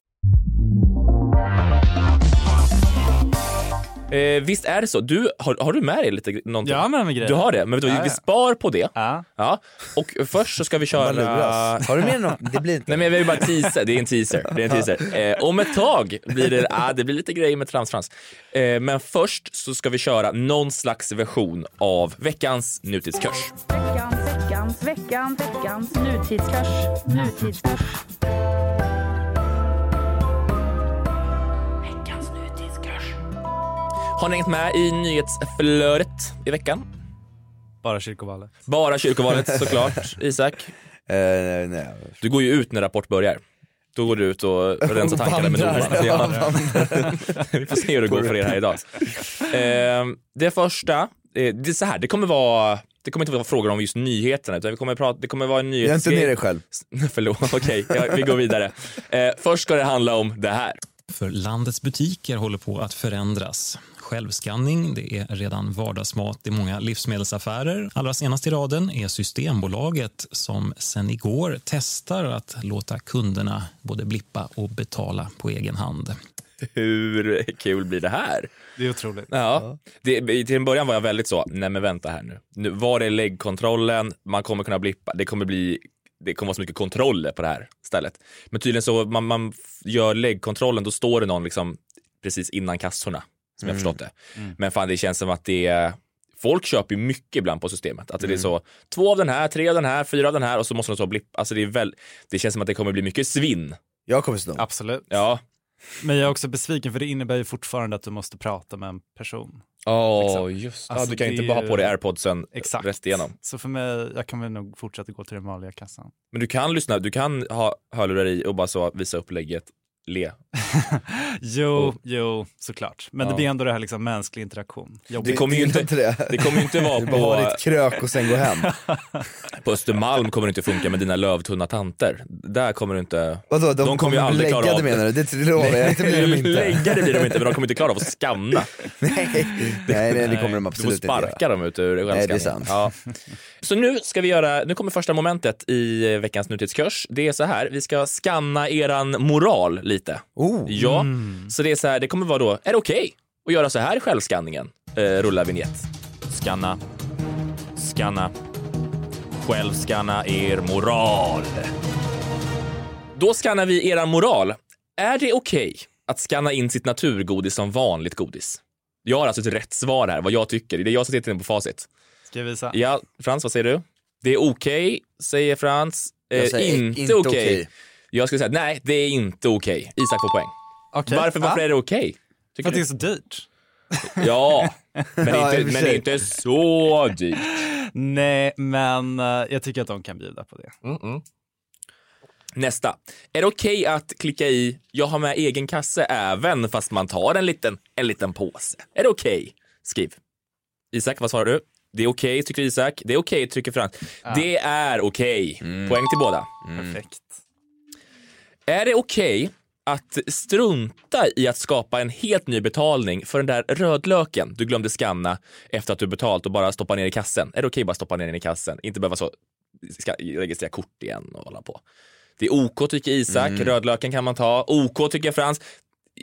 Speaker 3: Eh, visst är det så? Du, har, har du med dig lite gre- någonting?
Speaker 1: Jag har med mig grejer.
Speaker 3: Du har det? Men vet du, vad,
Speaker 1: Ja,
Speaker 3: vi
Speaker 1: ja.
Speaker 3: spar på det.
Speaker 1: Ja.
Speaker 3: Ja. Och först så ska vi
Speaker 5: Man
Speaker 3: köra...
Speaker 5: luras. Har du med något? Det blir inte.
Speaker 3: Nej men jag vill bara teasa, det är en teaser. Det är en teaser. Eh, om ett tag blir det, ah, det blir lite grejer med tramsfrans. Eh, men först så ska vi köra någon slags version av veckans nutidskurs.
Speaker 4: Veckans, veckans, veckans, veckans nutidskurs. Nutidskurs. Veckans nutidskurs.
Speaker 3: Har ni hängt med i nyhetsflödet i veckan?
Speaker 1: Bara kyrkovalet.
Speaker 3: Bara kyrkovalet såklart, Isak.
Speaker 5: Eh, nej,
Speaker 3: Du går ju ut när Rapport börjar. Då går du ut och rensar tankarna med
Speaker 5: Vandrar.
Speaker 3: domarna. Ja. Vi får se hur det går för er här idag. Eh, det första, eh, det är så här, det kommer vara det kommer inte vara frågor om just nyheterna utan vi kommer prata, det kommer vara en nyhet.
Speaker 5: jag är inte ner dig själv.
Speaker 3: Förlåt, okej, ja, vi går vidare. Eh, först ska det handla om det här.
Speaker 7: För landets butiker håller på att förändras. Självskanning det är redan vardagsmat i många livsmedelsaffärer. Allra senast i raden är Systembolaget som sen igår testar att låta kunderna både blippa och betala på egen hand.
Speaker 3: Hur kul blir det här?
Speaker 1: Det är otroligt.
Speaker 3: Ja. Det, till en början var jag väldigt så, nej men vänta här nu. nu var är läggkontrollen? Man kommer kunna blippa. Det kommer bli det kommer vara så mycket kontroller på det här stället. Men tydligen så, man, man f- gör läggkontrollen, då står det någon liksom precis innan kassorna, som
Speaker 1: Mm.
Speaker 3: jag förstått det. Men fan, det känns som att det är, folk köper ju mycket ibland på systemet. Att det är
Speaker 1: Mm.
Speaker 3: så, två av den här, tre av den här, fyra av den här och så måste de så blippa. Alltså det är väl, det känns som att det kommer bli mycket svinn.
Speaker 5: Jag kommer sno.
Speaker 1: Absolut.
Speaker 3: Ja.
Speaker 1: Men jag är också besviken för det innebär ju fortfarande att du måste prata med en person.
Speaker 3: Ja,
Speaker 5: Liksom.
Speaker 1: Exakt.
Speaker 3: just
Speaker 1: Alltså,
Speaker 3: ja, Du kan
Speaker 1: det
Speaker 3: inte
Speaker 1: är
Speaker 3: bara
Speaker 1: ju-
Speaker 3: ha på dig airpodsen
Speaker 1: Exakt.
Speaker 3: rest igenom.
Speaker 1: Så för mig, jag kan väl nog fortsätta gå till den vanliga kassan.
Speaker 3: Men du kan lyssna, du kan ha hörlurar i och bara så visa upplägget, le.
Speaker 1: Jo,
Speaker 3: Oh.
Speaker 1: jo, såklart. Men
Speaker 3: Ja.
Speaker 1: det blir ändå det här liksom mänsklig interaktion.
Speaker 3: Det
Speaker 1: Jobbigt.
Speaker 3: kommer ju
Speaker 5: Gillar
Speaker 3: inte,
Speaker 5: det.
Speaker 3: det kommer ju inte vara
Speaker 5: Du bara har
Speaker 3: på,
Speaker 5: ditt krök och sen gå hem.
Speaker 3: på Östermalm kommer det inte funka med dina lövtunna tanter. Där kommer du inte...
Speaker 5: Vadå, de,
Speaker 3: De kommer ju aldrig
Speaker 5: lägga
Speaker 3: klara av
Speaker 5: det menar du? Det lovar jag, det blir de inte.
Speaker 3: Lägga det blir de inte, men de kommer inte klara av att skanna.
Speaker 5: Nej, nej, nej det kommer de
Speaker 3: Du får
Speaker 5: absolut inte göra.
Speaker 3: sparka dem ut ur
Speaker 5: Nej, det är
Speaker 3: självskanningen.
Speaker 5: sant.
Speaker 3: Ja. Så nu ska vi göra, nu kommer första momentet i veckans nutidskurs. Det är så här, vi ska skanna eran moral lite.
Speaker 5: Oh.
Speaker 3: Ja, så det är så här, det kommer vara då, är det okej att göra så här i självskanningen? Eh, rulla vignett. Skanna. Skanna. Självskanna er moral. Då skannar vi era moral. Är det okej att skanna in sitt naturgodis som vanligt godis? Jag har alltså ett rätt svar här, vad jag tycker. Det är jag som sitter inne på facit.
Speaker 1: Ska jag visa?
Speaker 3: Ja, Frans, vad säger du? Det är okej, säger Frans. Eh,
Speaker 5: Jag säger
Speaker 3: inte
Speaker 5: inte
Speaker 3: okej.
Speaker 5: okej.
Speaker 3: Jag skulle säga nej, det är inte okej. Isak får poäng.
Speaker 5: Typ,
Speaker 1: Okej.
Speaker 3: Varför, varför
Speaker 1: Ja.
Speaker 3: är det okej?
Speaker 1: För
Speaker 3: Tycker
Speaker 1: att det
Speaker 3: du?
Speaker 1: är så dyrt.
Speaker 3: Ja, men,
Speaker 5: Ja, i och
Speaker 3: inte,
Speaker 5: för
Speaker 3: men
Speaker 5: sig.
Speaker 3: inte så dyrt.
Speaker 1: Nej, men eh, jag tycker att de kan bjuda på det.
Speaker 3: Nästa. Är det okej att klicka i “Jag har med egen kasse även fast man tar en liten, en liten påse”? Är det okej? Skriv. Isak, vad svarar du? Det är okej, tycker Isak. Det är okej, tycker Frans. Det är okej. Poäng till båda.
Speaker 1: Perfekt.
Speaker 3: Är det okej att strunta i att skapa en helt ny betalning för den där rödlöken du glömde skanna efter att du betalt och bara stoppa ner i kassen? Är det okej att bara stoppa ner den i kassen? Inte behöva så, ska registrera kort igen och hålla på. Det är OK tycker Isak,
Speaker 1: Mm.
Speaker 3: rödlöken kan man ta. OK tycker Frans.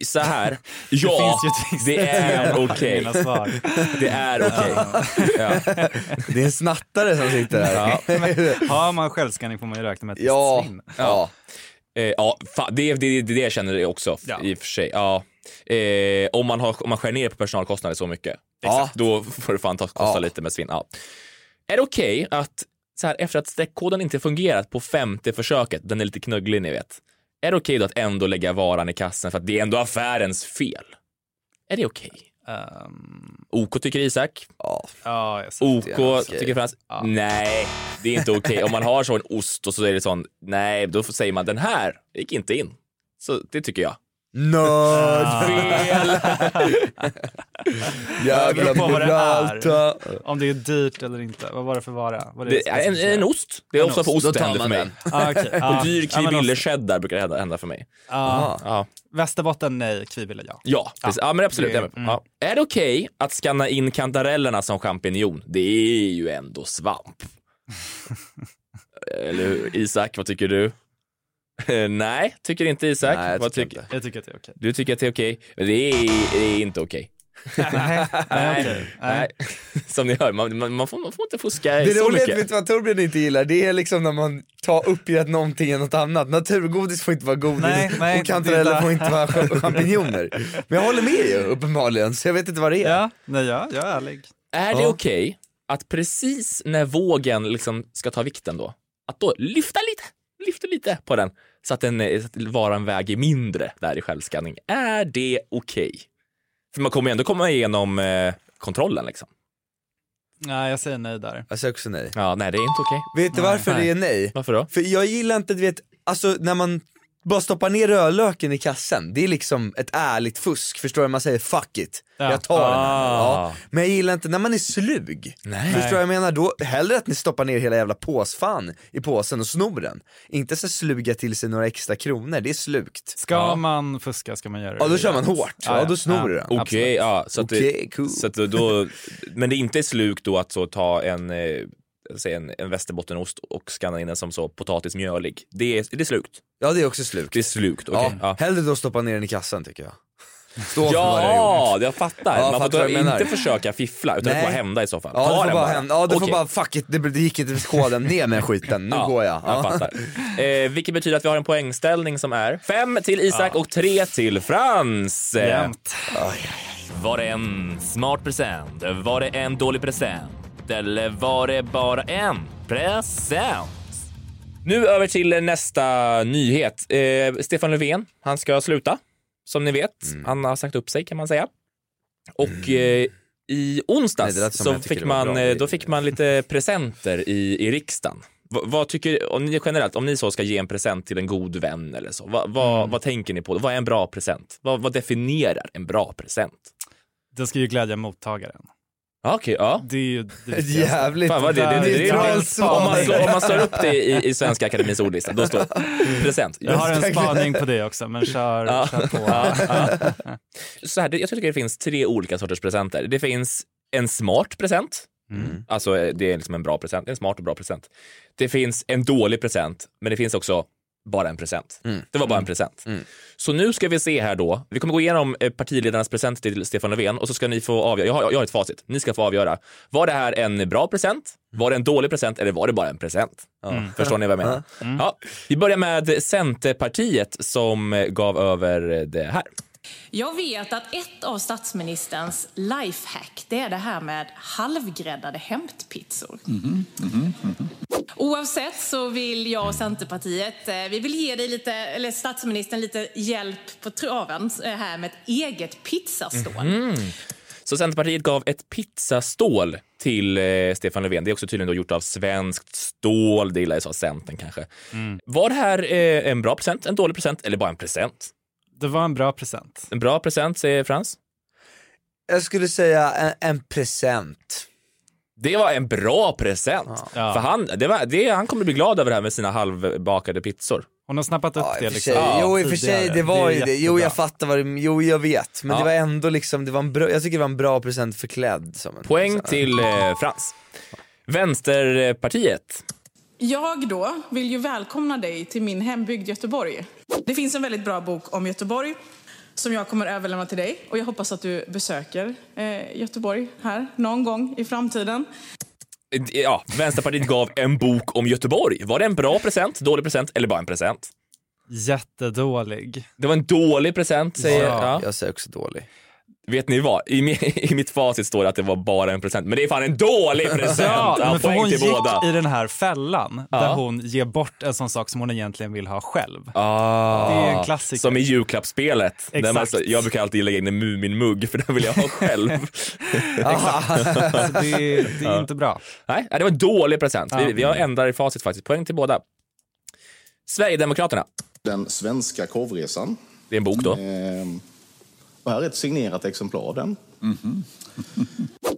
Speaker 3: Så här, ja,
Speaker 1: finns ju ett
Speaker 3: det är
Speaker 1: Okay.
Speaker 3: okej.
Speaker 1: Mina svar.
Speaker 3: Det är okej. Ja.
Speaker 5: Det är en snattare som sitter här.
Speaker 1: Har man självskanning får man ju räkna med ett
Speaker 5: Ja,
Speaker 1: visst svinn.
Speaker 5: ja.
Speaker 3: Eh, ja, fa- det, det, det, det känner jag också
Speaker 1: Ja.
Speaker 3: i och för sig. Ja. Eh, om, man har, om man skär ner på personalkostnader så mycket,
Speaker 5: Ja.
Speaker 3: då får det fan ta, kosta
Speaker 5: Ja.
Speaker 3: lite med svinn. Ja. Är det okej att så här, efter att streckkoden inte fungerat på femte försöket, den är lite knugglig ni vet, är det okej då att ändå lägga varan i kassen för att det är ändå affärens fel? Är det okej?
Speaker 1: Ehm,
Speaker 3: OK tycker Isak,
Speaker 5: ja.
Speaker 1: ja, jag ser.
Speaker 3: Oh. OK
Speaker 5: okej.
Speaker 3: tycker Frans,
Speaker 1: Ja.
Speaker 3: nej det är inte okej. Om man har så en ost och så är det sån, nej då säger man den här gick inte in. Så det tycker jag.
Speaker 5: Nörd,
Speaker 3: Fel!
Speaker 5: jävla
Speaker 1: beror på vad det är.
Speaker 5: Bulalta.
Speaker 1: Om det är dyrt eller inte. Vad var det för vara? Var
Speaker 3: Det är en, en ost. Det är
Speaker 1: En
Speaker 3: ofta på ost
Speaker 1: ost.
Speaker 5: Då
Speaker 3: det
Speaker 5: tar
Speaker 3: händer för
Speaker 5: man
Speaker 3: mig.
Speaker 5: den.
Speaker 1: Ah, okay.
Speaker 3: En dyr
Speaker 1: alltså,
Speaker 3: kvibille cheddar brukar det hända- hända för mig. Ja,
Speaker 1: Västerbotten, nej. Kvibille, ja.
Speaker 3: ja, precis. ja men absolut.
Speaker 1: det-
Speaker 3: jag är med på. Ja. Är det okej att skanna in kantarellerna som champinjon? Det är ju ändå svamp. Eller hur? Isak, vad tycker du? Nej, tycker inte Isak.
Speaker 5: Nej, jag
Speaker 3: vad
Speaker 5: tycker
Speaker 3: tycker-
Speaker 5: inte.
Speaker 1: Jag tycker att det är okej.
Speaker 3: Du tycker att det är okej? Men Det, är- det är inte okej.
Speaker 1: Nej, okej.
Speaker 3: Nej. Som ni hör, man, man, man, får, man får inte fuska
Speaker 5: Det
Speaker 3: så
Speaker 5: roliga är
Speaker 3: mycket.
Speaker 5: att vet du vad Torbjörn inte gillar, det är liksom när man tar uppgett någonting än något annat. Naturgodis får inte vara godis
Speaker 1: Nej, nej,
Speaker 5: och kantareller
Speaker 1: det-
Speaker 5: får inte vara champ- champinjoner. Men jag håller med ju uppenbarligen, så jag vet inte vad det är.
Speaker 1: Ja, nej, ja, jag är ärlig.
Speaker 3: Är det
Speaker 5: Ja.
Speaker 3: okej att precis när vågen liksom ska ta vikten då, att då lyfta lite, lyfta lite på den så att den eh, så att varan väger mindre där i självskanning. Är det okej? För man kommer ju ändå komma igenom eh, kontrollen liksom.
Speaker 1: Nej, jag säger nej där.
Speaker 5: Jag säger också nej.
Speaker 3: Ja, nej, det är inte okej.
Speaker 5: Vet du varför
Speaker 3: nej.
Speaker 5: det är nej?
Speaker 3: Varför då?
Speaker 5: För jag gillar inte, du vet, alltså när man bara stoppar ner rödlöken i kassen, det är liksom ett ärligt fusk, förstår du? Man säger fuck it,
Speaker 1: Ja.
Speaker 5: jag tar den här.
Speaker 3: Ah.
Speaker 5: Ja. Men jag gillar inte när man är slug,
Speaker 3: Nej.
Speaker 5: förstår du vad jag menar? Då hellre att ni stoppar ner hela jävla påsfan i påsen och snor den. Inte så sluga till sig några extra kronor, det är slugt.
Speaker 1: Ska
Speaker 3: Ja.
Speaker 1: man fuska ska man göra det.
Speaker 5: Ja då kör man hårt, ja, då snor du den.
Speaker 3: Okej, ja. Så att, det-
Speaker 5: Okej, cool.
Speaker 3: så att då- då, men det är inte sluk då att så ta en, eh, säg en, en västerbottenost och skanna in den som så potatismjölig. Det är, det är slukt.
Speaker 5: Ja det är också slugt.
Speaker 3: Det är slukt, okej.
Speaker 5: ja.
Speaker 3: Ja.
Speaker 5: Hellre då stoppa ner den i kassen tycker jag. Stå för vad det är gjort.
Speaker 3: Ja, jag fattar.
Speaker 5: Ja,
Speaker 3: Man får
Speaker 5: fattar vad
Speaker 3: då
Speaker 5: jag menar.
Speaker 3: inte försöka fiffla utan det
Speaker 5: Nej.
Speaker 3: får bara hända i så fall.
Speaker 5: Ja,
Speaker 3: Ta
Speaker 5: det får
Speaker 3: den
Speaker 5: bara hända. Ja, du
Speaker 3: Okej.
Speaker 5: får bara fuck it, det det gick inte med koden, ner med skiten, nu
Speaker 3: Ja,
Speaker 5: går jag.
Speaker 3: Jag
Speaker 5: Ja.
Speaker 3: fattar. Eh, vilket betyder att vi har en poängställning som är fem till Isak och tre till Frans. Eh,
Speaker 1: Jämt.
Speaker 3: Var det en smart present? Var det en dålig present? Eller var det bara en present? Nu över till nästa nyhet. Eh, Stefan Löfven, han ska sluta, som ni vet. Han har sagt upp sig kan man säga. Och eh, i onsdags
Speaker 5: Nej, det lät som
Speaker 3: så
Speaker 5: jag tycker
Speaker 3: fick
Speaker 5: det var
Speaker 3: man,
Speaker 5: bra.
Speaker 3: eh, då fick man lite presenter i, i riksdagen. Va, vad tycker om ni generellt, om ni så ska ge en present till en god vän eller så, va, va, vad tänker ni på? Vad är en bra present? Vad- vad definierar en bra present?
Speaker 1: Den ska ju glädja mottagaren.
Speaker 3: Ja, Okej, ja.
Speaker 1: Det är ju det
Speaker 5: Ett
Speaker 1: viktigaste.
Speaker 5: jävligt
Speaker 3: Fan vad det, det, det, det,
Speaker 1: Det är
Speaker 3: det,
Speaker 1: troll
Speaker 3: om, man
Speaker 5: trollspaning.
Speaker 3: slår, om man slår upp det i, i Svenska Akademins ordlista, då står det present.
Speaker 1: Jag har en spaning på det också, men kör,
Speaker 3: Ja.
Speaker 1: kör på.
Speaker 3: Ja, ja. Så här, det- jag tycker det finns tre olika sorters presenter. Det finns en smart present,
Speaker 1: Mm.
Speaker 3: alltså eh, det är liksom en bra present, en smart och bra present. Det finns en dålig present, men det finns också bara en present.
Speaker 5: Mm.
Speaker 3: Det var bara en present.
Speaker 5: Mm.
Speaker 3: Så nu ska vi se här då, vi kommer gå igenom eh, partiledarnas present till Stefan Löfven och så ska ni få avgöra, jag har, jag har ett facit, ni ska få avgöra. Var det här en bra present? Var det en dålig present eller var det bara en present? Mm.
Speaker 5: Ja.
Speaker 3: Förstår ni vad jag menar? Ja, vi börjar med Centerpartiet som eh, gav över det här.
Speaker 8: Jag vet att ett av statsministerns lifehack, det är det här med halvgräddade hämtpizzor.
Speaker 4: Mm-hmm.
Speaker 8: Oavsett så vill jag och Centerpartiet, eh, vi vill ge dig lite, eller statsministern lite hjälp på traven eh, här med ett eget pizzastål.
Speaker 3: Så Centerpartiet gav ett pizzastål till eh, Stefan Löfven. Det är också tydligen då gjort av svenskt stål. Det gillar jag sa Centern kanske.
Speaker 1: Mm.
Speaker 3: Var det här eh, en bra present, en dålig present eller bara en present?
Speaker 1: Det var en bra present.
Speaker 3: En bra present säger Frans.
Speaker 5: Jag skulle säga en, en present.
Speaker 3: Det var en bra present.
Speaker 1: Ja.
Speaker 3: För han, det var, det, han kommer bli glad över det här med sina halvbakade pizzor.
Speaker 1: Hon har snappat upp
Speaker 5: Ja, i
Speaker 1: det
Speaker 5: och för sig.
Speaker 1: liksom.
Speaker 5: jo i och för sig,
Speaker 1: tidigare.
Speaker 5: det var
Speaker 1: är
Speaker 5: ju det. Jo jag
Speaker 1: jättebra.
Speaker 5: fattar vad du, jo jag vet. Men
Speaker 3: Ja.
Speaker 5: det var ändå liksom, det var en bra, jag tycker det var en bra present förklädd som en
Speaker 3: Poäng
Speaker 5: present.
Speaker 3: till eh, Frans. Vänsterpartiet.
Speaker 8: Jag då vill ju välkomna dig till min hembygd Göteborg. Det finns en väldigt bra bok om Göteborg som jag kommer överlämna till dig och jag hoppas att du besöker eh, Göteborg här någon gång i framtiden.
Speaker 3: Eh, Ja, Vänsterpartiet gav en bok om Göteborg. Var det en bra present, dålig present eller bara en present?
Speaker 1: Jättedålig.
Speaker 3: Det var en dålig present, säger
Speaker 1: Ja.
Speaker 3: ja.
Speaker 5: Jag säger också dålig.
Speaker 3: Vet ni vad? I, mi- I mitt facit står det att det var bara en present, men det är fan en dålig present!
Speaker 1: Ja, men för
Speaker 3: poäng
Speaker 1: hon
Speaker 3: till
Speaker 1: gick
Speaker 3: båda.
Speaker 1: i den här fällan
Speaker 3: Ja.
Speaker 1: där hon ger bort en sån sak som hon egentligen vill ha själv.
Speaker 3: Ah,
Speaker 1: Det är en klassiker.
Speaker 3: Som i julklappsspelet. Där man,
Speaker 1: Exakt.
Speaker 3: jag brukar alltid lägga in en Muminmugg, för den vill jag ha själv.
Speaker 1: Så det, det är inte bra.
Speaker 3: Nej, det var en dålig present. Vi, vi har ändrat i facit faktiskt. Poäng till båda. Sverigedemokraterna.
Speaker 9: Den svenska korvresan.
Speaker 3: Det är en bok då.
Speaker 8: Mm.
Speaker 9: Ehm, och här är ett signerat exemplar av den.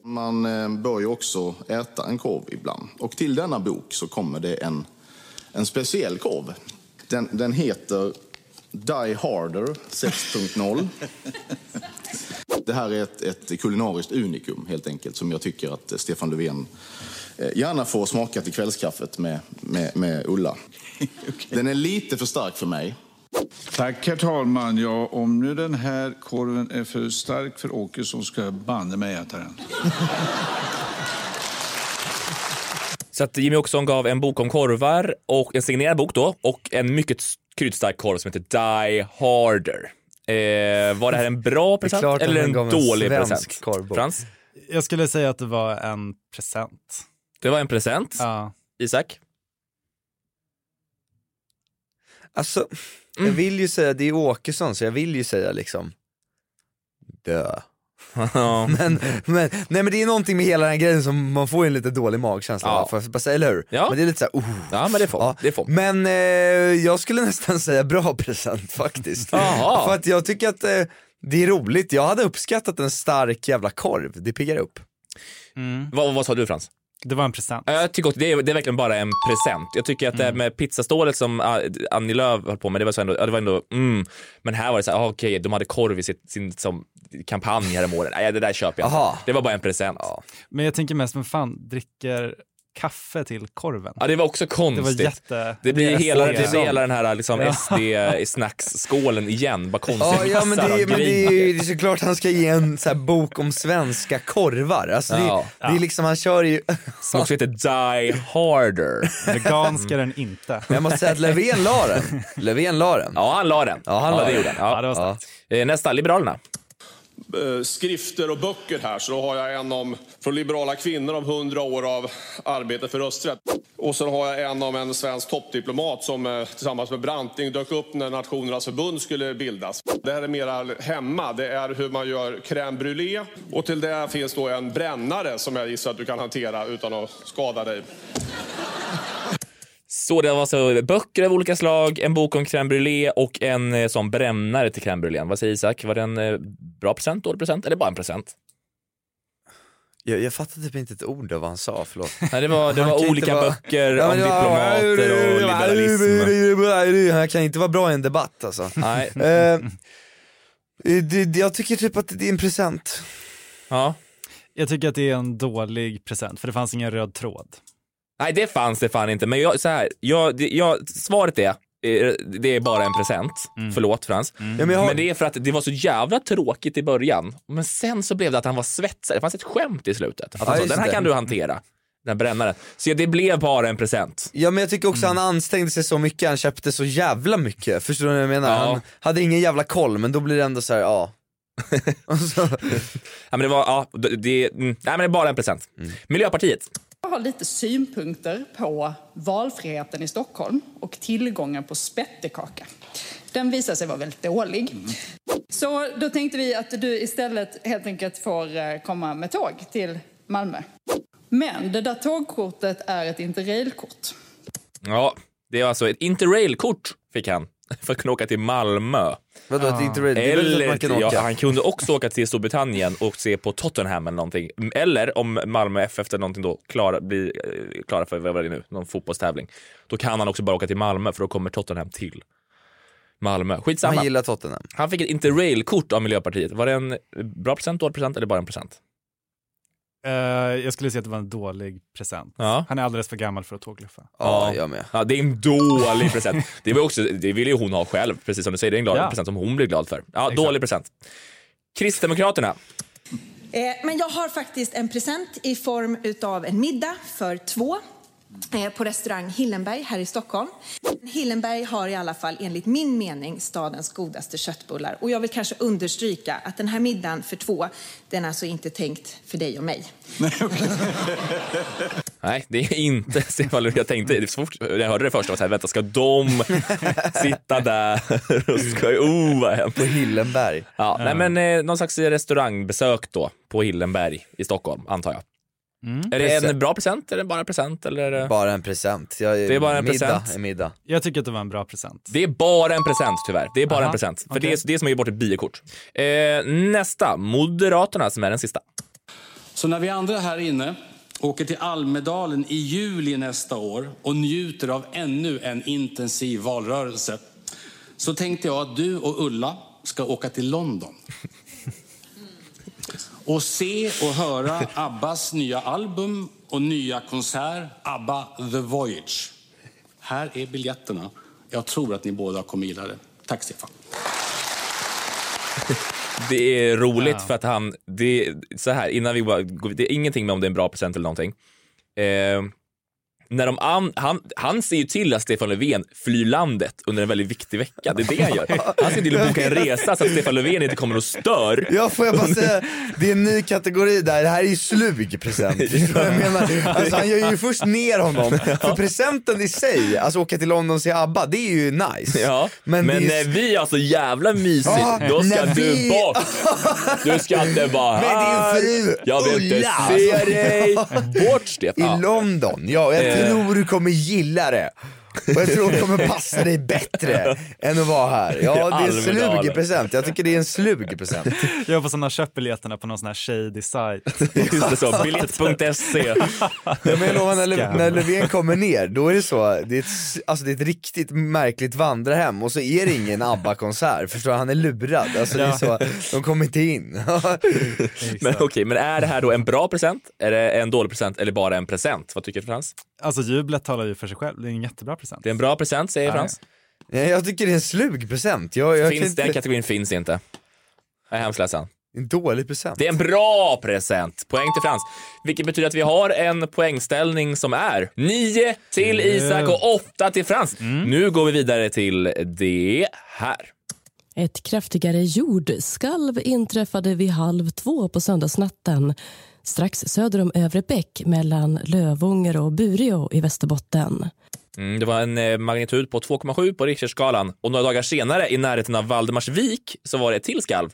Speaker 9: Man eh, bör ju också äta en korv ibland. Och till denna bok så kommer det en, en speciell korv. Den, den heter Die Harder 6.0. Det här är ett, ett kulinariskt unikum helt enkelt som jag tycker att eh, Stefan Löfven eh, gärna får smaka till kvällskaffet med, med, med Ulla. Den är lite för stark för mig.
Speaker 10: Tack herr talman. Ja, om nu den här korven är för stark för Åkesson ska jag banne mig äta den.
Speaker 3: Så att Jimmy Åkesson gav en bok om korvar, och en signerad bok då, och en mycket kryddstark korv som heter Die Harder. Eh, var det här en bra
Speaker 5: Det är
Speaker 3: present
Speaker 5: klart att
Speaker 3: eller
Speaker 5: han
Speaker 3: en
Speaker 5: gav en
Speaker 3: dålig
Speaker 5: svensk
Speaker 3: present?
Speaker 5: korvbok.
Speaker 3: Frans,
Speaker 1: Jag skulle säga att det var en present.
Speaker 3: det var en present.
Speaker 1: Ja.
Speaker 3: Isak?
Speaker 5: Alltså,
Speaker 3: Mm.
Speaker 5: jag vill ju säga, det är Åkesson så jag vill ju säga liksom, dö. men, men, nej men det är någonting med hela den här grejen som man får en lite dålig magkänsla
Speaker 3: Ja.
Speaker 5: av, får jag bara säga, eller hur? Men det är lite såhär, oh.
Speaker 3: Ja men det Mm. får, det får.
Speaker 5: Men eh, jag skulle nästan säga bra present faktiskt.
Speaker 3: Jaha.
Speaker 5: För att jag tycker att eh, det är roligt, jag hade uppskattat en stark jävla korv, det piggar upp.
Speaker 3: Vad, vad sa du Frans?
Speaker 1: Mm. Det var en present.
Speaker 3: Ja, Jag tycker också, det, är, det är verkligen bara en present. Jag tycker att det här med pizzastålet som ah, Annie Lööf höll på med, det var, så ändå, ja, det var ändå, mm. Men här var det så här, ah, okej, de hade korv i sitt, sin som kampanj här om året. Nej, det där köper jag inte.
Speaker 1: Aha.
Speaker 3: Det var bara en present. Ja.
Speaker 1: Men jag tänker mest, men fan, dricker kaffe till korven?
Speaker 3: det var också
Speaker 1: Det
Speaker 3: konstigt.
Speaker 1: var jätte...
Speaker 3: det blir hela, det blir
Speaker 1: jätte-
Speaker 3: hela den här liksom,
Speaker 1: Ja.
Speaker 3: SD-snacksskålen igen. Bara konstiga
Speaker 5: Ja, ja men,
Speaker 3: massar av
Speaker 5: det, men det, är
Speaker 3: grejer.
Speaker 5: ju, det är såklart han ska ge en så här bok om svenska korvar, alltså det,
Speaker 3: Ja.
Speaker 5: det är liksom, han kör ju
Speaker 3: Som också heter Die Harder.
Speaker 1: Vegansk är den inte.
Speaker 5: Men jag måste säga att Löfven la den. Löfven la den.
Speaker 3: Ja, han la den.
Speaker 5: Ja, han la
Speaker 3: det
Speaker 5: den.
Speaker 3: gjorde han. Ja.
Speaker 5: Ja, det var starkt.
Speaker 3: Eh, Nästa, Liberalerna.
Speaker 11: eh, skrifter och böcker här så då har jag en om från liberala kvinnor om 100 år av arbete för rösträtt. Och sen har jag en om en svensk toppdiplomat som eh, tillsammans med Branting dök upp när Nationernas förbund skulle bildas. Det här är mera hemma. Det är hur man gör crème brûlée. Och till det finns då en brännare som jag gissar att du kan hantera utan att skada dig.
Speaker 3: Så det var alltså böcker av olika slag, en bok om crème brûlée och en eh, sån brännare till crème brûlée. Vad säger Isak? Var det en eh, bra present, dålig present eller bara en present?
Speaker 5: Jag, jag fattar typ inte ett ord av vad han sa, förlåt.
Speaker 3: Nej, det var- det
Speaker 5: Han
Speaker 3: var
Speaker 5: kan inte
Speaker 3: olika böcker om
Speaker 5: men det var-
Speaker 3: diplomater och liberalism.
Speaker 5: Han kan inte vara bra i en debatt alltså.
Speaker 3: Nej.
Speaker 5: Eh, det, det, jag tycker typ att det är en present.
Speaker 3: Ja.
Speaker 1: Jag tycker att det är en dålig present, för det fanns ingen röd tråd.
Speaker 3: Nej, det fanns det fan inte. Men jag, så här, jag, det- jag, svaret är eh, det är bara en present. Förlåt Frans.
Speaker 5: Ja, men
Speaker 3: Mm. men,
Speaker 5: jag har-
Speaker 3: det är för att det var så jävla tråkigt i början. Men sen så blev det att han var svetsare. Det fanns ett skämt i slutet. Att
Speaker 5: Ja,
Speaker 3: han sa,
Speaker 5: just
Speaker 3: den här
Speaker 5: det.
Speaker 3: kan du hantera. Den här brännaren. Så ja, det blev bara en present.
Speaker 5: Ja men jag tycker
Speaker 3: Mm.
Speaker 5: också han ansträngde sig så mycket, han köpte så jävla mycket, förstår du vad jag menar?
Speaker 3: Ja.
Speaker 5: Han hade ingen jävla koll men då blir det ändå så här, ja.
Speaker 3: Ja, men det var, ja, det, det, mm, nej, men det är bara en present.
Speaker 5: Mm.
Speaker 3: Miljöpartiet.
Speaker 12: Jag har lite synpunkter på valfriheten i Stockholm och tillgången på spettekaka. Den visar sig vara väldigt dålig. Så då tänkte vi att du istället helt enkelt får eh, komma med tåg till Malmö. Men det där tågkortet är ett interrailkort.
Speaker 3: Ja, det var alltså ett interrailkort fick han för att kunna åka till Malmö.
Speaker 5: Vadå, ett interrail? Det är väl
Speaker 3: Eller,
Speaker 5: att man kan åka.
Speaker 3: ja, han kunde också åka till Storbritannien och se på Tottenham eller någonting. Eller om Malmö FF eller någonting då klara, blir eh, klara för, vad var det nu, någon fotbollstävling. Då kan han också bara åka till Malmö för då kommer Tottenham till Malmö. Skitsamma.
Speaker 5: Han gillar Tottenham.
Speaker 3: Han fick ett interrailkort av Miljöpartiet. Var det en bra present, dålig present eller bara en present?
Speaker 1: Eh, jag skulle säga att det var en dålig present.
Speaker 3: Ja.
Speaker 1: Han är alldeles för gammal för att tågluffa.
Speaker 5: Ja, jag med.
Speaker 3: Ja, det är en dålig present. Det, var också, det ville ju hon ha själv, precis som du säger. Det är en glad
Speaker 1: Ja.
Speaker 3: present som hon blir glad för. Ja, dålig present. Kristdemokraterna.
Speaker 13: Eh, Men jag har faktiskt en present i form utav en middag för två eh, på restaurang Hillenberg här i Stockholm. Hillenberg har i alla fall enligt min mening stadens godaste köttbullar och jag vill kanske understryka att den här middagen för två, den är alltså inte tänkt för dig och mig.
Speaker 3: Nej, det är inte Stefan Löfven. Jag tänkte, så fort när jag hörde det först, jag var så här, vänta, ska de sitta där och ska, oh vad hemskt. På
Speaker 5: Hillenberg.
Speaker 3: Ja, nej men eh, någon slags restaurangbesök då, på Hillenberg i Stockholm, antar jag. Är det en
Speaker 5: Present.
Speaker 3: bra present eller bara present? Eller? eh?
Speaker 5: Bara en present. Jag,
Speaker 3: Det är bara en
Speaker 5: middag
Speaker 3: present.
Speaker 5: är middag.
Speaker 1: Jag tycker att det var en bra present.
Speaker 3: Det är bara en present tyvärr. Det är bara
Speaker 1: Aha,
Speaker 3: en present. För
Speaker 1: okej.
Speaker 3: det, är, det är som att ge bort ett biokort. Eh, nästa, Moderaterna som är den sista.
Speaker 14: Så när vi andra här inne åker till Almedalen i juli nästa år och njuter av ännu en intensiv valrörelse så tänkte jag att du och Ulla ska åka till London och se och höra Abbas nya album och nya konsert ABBA The Voyage. Här är biljetterna. Jag tror att ni båda kommer gilla det. Tack Stefan.
Speaker 3: Det är roligt
Speaker 14: Wow.
Speaker 3: för att han, det är så här, innan vi bara går, det är ingenting med om det är en bra present eller någonting. Eh, när de an, han, han ser ju till att Stefan Löfven flyr landet under en väldigt viktig vecka. Det är det han gör. Han ser till att boka en resa så att Stefan Löfven inte kommer och stör.
Speaker 5: Ja, får jag bara säga, det är en ny kategori där, det här är ju slug present. Förstår du vad jag menar? Alltså, han gör ju först ner honom, för presenten i sig, alltså åka till London och se ABBA, det är ju nice.
Speaker 3: Ja, men eh,
Speaker 5: det är ju-
Speaker 3: när vi har så jävla mysigt,
Speaker 5: Ja,
Speaker 3: då ska
Speaker 5: när
Speaker 3: du
Speaker 5: vi-
Speaker 3: bort. Du ska inte vara
Speaker 5: Med din
Speaker 3: här.
Speaker 5: fru,
Speaker 3: Jag vill inte
Speaker 5: Ulla.
Speaker 3: se dig. Bort Stefan.
Speaker 5: I London, ja,
Speaker 3: Eh.
Speaker 5: jag tror du kommer gilla det. Och jag tror det kommer passa dig bättre än att vara här. Ja, det är en
Speaker 1: Almedalen.
Speaker 5: slug present. Jag tycker det är en slug present.
Speaker 1: Jag hoppas han har köpt biljetterna på någon sån här shady sajt.
Speaker 3: Just det, så. Biljett.se.
Speaker 5: Ja, men jag lovar, när, Lö-
Speaker 1: Scam.
Speaker 5: när Löfven kommer ner, då är det så, det är ett, s- alltså, det är ett riktigt märkligt vandrarhem och så är det ingen ABBA-konsert, förstår du? Han är lurad. Alltså, det är så, de kommer inte in.
Speaker 3: Men okej, men är det här då en bra present, är det en dålig present eller bara en present? Vad tycker Frans?
Speaker 1: Alltså jublet talar ju för sig själv, det är en jättebra present.
Speaker 3: Det är en bra present säger
Speaker 1: Nej.
Speaker 3: Frans.
Speaker 5: Nej, jag tycker det är en slug present. Jag, jag
Speaker 3: Finns, den kategorin finns inte. Jag är hemskt ledsen.
Speaker 5: En dålig present.
Speaker 3: Det är en bra present. Poäng till Frans. Vilket betyder att vi har en poängställning som är 9 till Isak och 8 till Frans. Nu går vi vidare till det här.
Speaker 15: Ett kraftigare jordskalv inträffade vid halv två på söndagsnatten strax söder om Övre Bäck mellan Lövånger och Bureå i Västerbotten.
Speaker 3: Mm, det var en eh, magnitud på 2,7 på Richterskalan och några dagar senare i närheten av Valdemarsvik så var det ett till skalv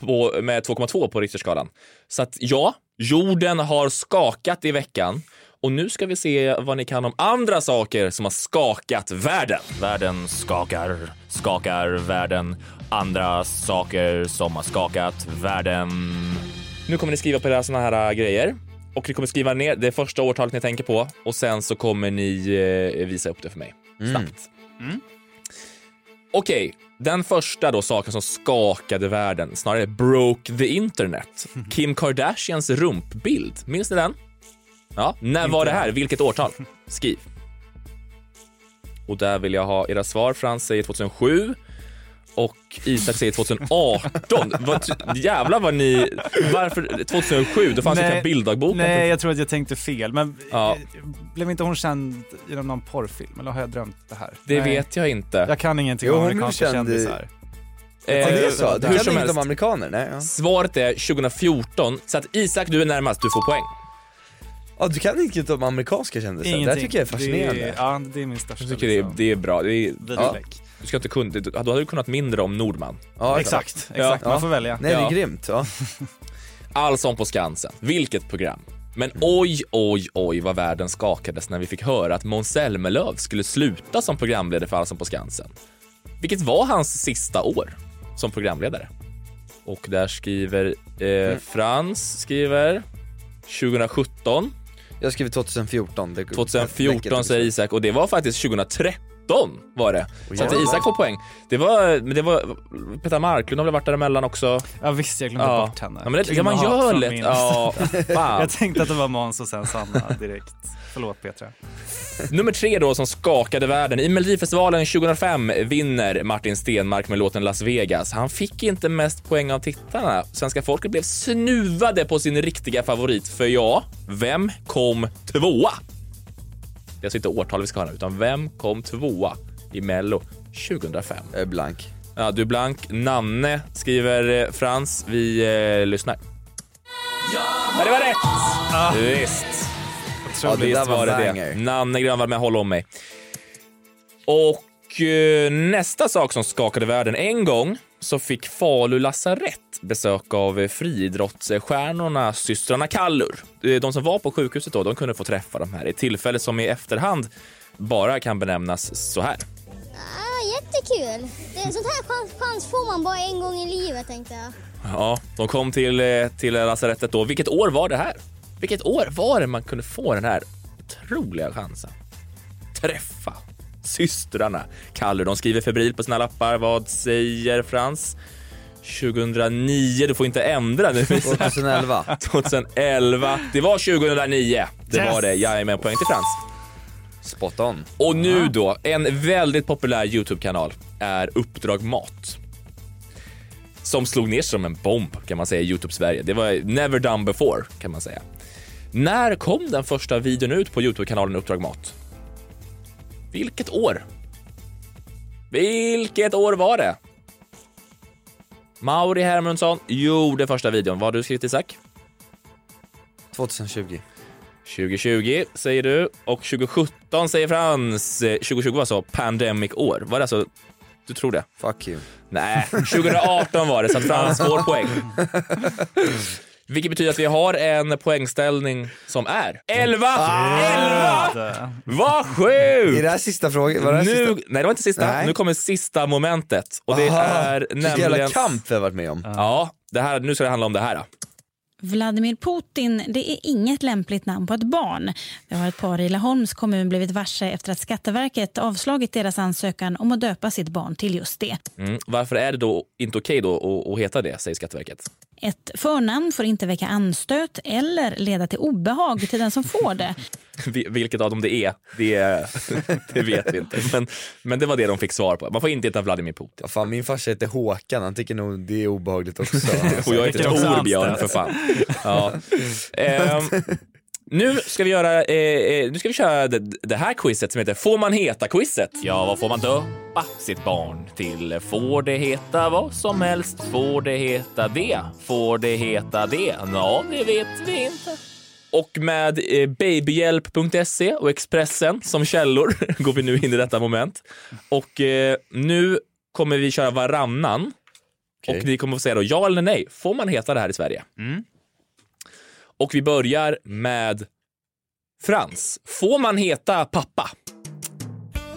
Speaker 3: på, med 2,2 på Richterskalan. Så att ja, jorden har skakat i veckan och nu ska vi se vad ni kan om andra saker som har skakat världen. Världen skakar, skakar världen. Andra saker som har skakat världen. Nu kommer ni skriva på era såna här äh, grejer och ni kommer skriva ner det första årtalet ni tänker på och sen så kommer ni eh, visa upp det för mig snabbt. Okej, den första då saken som skakade världen, snarare broke the internet. Kim Kardashians rumpbild, minns ni den? Ja, när var det här? Vilket årtal? Skriv. Och där vill jag ha era svar. Frans säger 2007 och Isak säger 2018. vad, jävlar vad ni... Varför 2007? Då fanns ju
Speaker 1: Nej,
Speaker 3: inte bilddagboken.
Speaker 1: Nej, jag tror att jag tänkte fel. Men eh,
Speaker 3: Ja.
Speaker 1: blev inte hon känd genom någon porrfilm? Eller har jag drömt det här?
Speaker 3: Det
Speaker 1: Nej.
Speaker 3: vet jag inte. Eh,
Speaker 1: Jag kan ingenting
Speaker 5: Jo,
Speaker 1: om
Speaker 5: hon är
Speaker 1: amerikanska
Speaker 5: känd i-
Speaker 1: kändisar.
Speaker 5: Ja, det är så. Du
Speaker 3: hur
Speaker 5: kan
Speaker 3: som
Speaker 5: inget
Speaker 3: helst.
Speaker 5: om amerikaner? Nej, ja.
Speaker 3: Svaret är 2014, så att Isak du är närmast, du får poäng.
Speaker 5: ja, du kan inget om amerikanska kändisar? Det här tycker jag är fascinerande.
Speaker 1: Det är, ja, det är min största. liksom
Speaker 3: Jag tycker det är, det är bra. Det är, ja.
Speaker 1: fläck.
Speaker 3: Du ska inte kunna, du, då hade du kunnat mindre om Nordman.
Speaker 1: Ja, Exakt, exakt. exakt. Man får välja. Nej, det är
Speaker 5: grymt. Ja.
Speaker 3: Allsång på Skansen, vilket program. Men oj, oj, oj vad världen skakades när vi fick höra att Måns Zelmerlöw skulle sluta som programledare för Allsång på Skansen. Vilket var hans sista år som programledare. Och där skriver eh, Frans skriver 2017.
Speaker 5: Jag skriver 2014. Det- det-
Speaker 3: 2014
Speaker 5: det-
Speaker 3: säger
Speaker 1: liksom.
Speaker 3: Isak och det var faktiskt 2013 var det. Så att
Speaker 5: jävlar.
Speaker 3: Isak får poäng. Det var, men det var Petra Marklund har väl varit däremellan också.
Speaker 1: Ja visst, jag glömde bort henne.
Speaker 3: Ja, men det, ja, man gör
Speaker 1: Kvinnohat
Speaker 3: lätt.
Speaker 1: som
Speaker 3: Ja,
Speaker 1: minst.
Speaker 3: fan.
Speaker 1: Jag tänkte att det var Måns och sen Sanna direkt. Förlåt Petra.
Speaker 3: Nummer tre då som skakade världen. I Melodifestivalen 2005 vinner Martin Stenmark med låten Las Vegas. Han fick inte mest poäng av tittarna. Svenska folket blev snuvade på sin riktiga favorit. För ja, vem kom tvåa? Det är alltså inte årtal vi ska höra, utan vem kom tvåa i Mello 2005?
Speaker 5: Jag är Eh, blank.
Speaker 3: Ja, du är blank. Namne skriver eh, Frans. Vi eh, lyssnar. Ja, det var rätt! Visst.
Speaker 5: Ja, det där
Speaker 3: Visst
Speaker 5: var
Speaker 3: Ah. var det
Speaker 5: banger.
Speaker 3: det. Nanne Grönvall med Håll om mig. Och eh, nästa sak som skakade världen. En gång så fick Falu lasarett besök av eh, friidrottsstjärnorna systrarna Kallur. Eh, De som var på sjukhuset då, de kunde få träffa dem här. Ett tillfälle som i efterhand bara kan benämnas så här.
Speaker 16: Ah, jättekul! Det, sånt här chans, chans får man bara en gång i livet tänkte jag.
Speaker 3: Ja, de kom till, eh, till lasarettet då. Vilket år var det här? Vilket år var det man kunde få den här otroliga chansen? Träffa systrarna Kallur. De skriver febrilt på sina lappar. Vad säger Frans? 2009. Du får inte ändra nu.
Speaker 5: 2011.
Speaker 3: 2011. Det var 2009. Det var
Speaker 5: Yes.
Speaker 3: det. Jajamän, poäng till Frans.
Speaker 5: Spot on.
Speaker 3: Och nu då, en väldigt populär Youtube-kanal är Uppdrag Mat. Som slog ner som en bomb kan man säga i Youtube-Sverige. Det var never done before kan man säga. När kom den första videon ut på Youtube-kanalen Uppdrag Mat? Vilket år? Vilket år var det? Mauri Hermundsson gjorde första videon. Vad har du skrivit Isak?
Speaker 5: 2020.
Speaker 3: 2020 säger du och 2017 säger Frans. Eh, 2020 var alltså pandemic år. Var det alltså? Du tror det?
Speaker 5: Fuck you.
Speaker 3: Nej, 2018 var det så att Frans får poäng. Vilket betyder att vi har en poängställning som är 11!
Speaker 1: eh,
Speaker 3: 11! Vad sjukt!
Speaker 5: Är Ah! det här sista frågan? Var det här
Speaker 3: nu,
Speaker 5: sista?
Speaker 3: Nej, det var inte sista.
Speaker 5: Nej.
Speaker 3: Nu kommer sista momentet. Och det
Speaker 5: Aha,
Speaker 3: är
Speaker 5: vilken
Speaker 3: nämligen...
Speaker 5: jävla kamp vi har varit med om.
Speaker 3: Ja, det här, nu ska det handla om det här. då.
Speaker 17: Vladimir Putin, det är inget lämpligt namn på ett barn. Det har ett par i Laholms kommun blivit varse efter att Skatteverket avslagit deras ansökan om att döpa sitt barn till just det.
Speaker 3: Mm. Varför är det då inte okej då att- att heta det, säger Skatteverket.
Speaker 17: Ett förnamn får inte väcka anstöt eller leda till obehag till den som får det.
Speaker 3: Vi- Vilket av dem det är, det, det vet vi inte. Men, men det var det de fick svar på. Man får inte heta Vladimir Putin.
Speaker 5: Fan, min farsa heter Håkan, han tycker nog det är obehagligt också.
Speaker 3: Och jag heter Torbjörn för fan. Ja. Ehm, nu ska vi göra, eh, eh, nu ska vi köra det, det här quizet som heter Får man heta-quizet? Ja, vad får man döpa sitt barn till? Får det heta vad som helst? Får det heta det? Får det heta det? Ja, det vet vi inte. Och med eh, babyhjälp.se E och Expressen som källor går vi nu in i detta moment. Och eh, nu kommer vi köra varannan. Och ni kommer få säga då ja eller nej. Får man heta det här i Sverige? Och vi börjar med Frans. Får man heta pappa?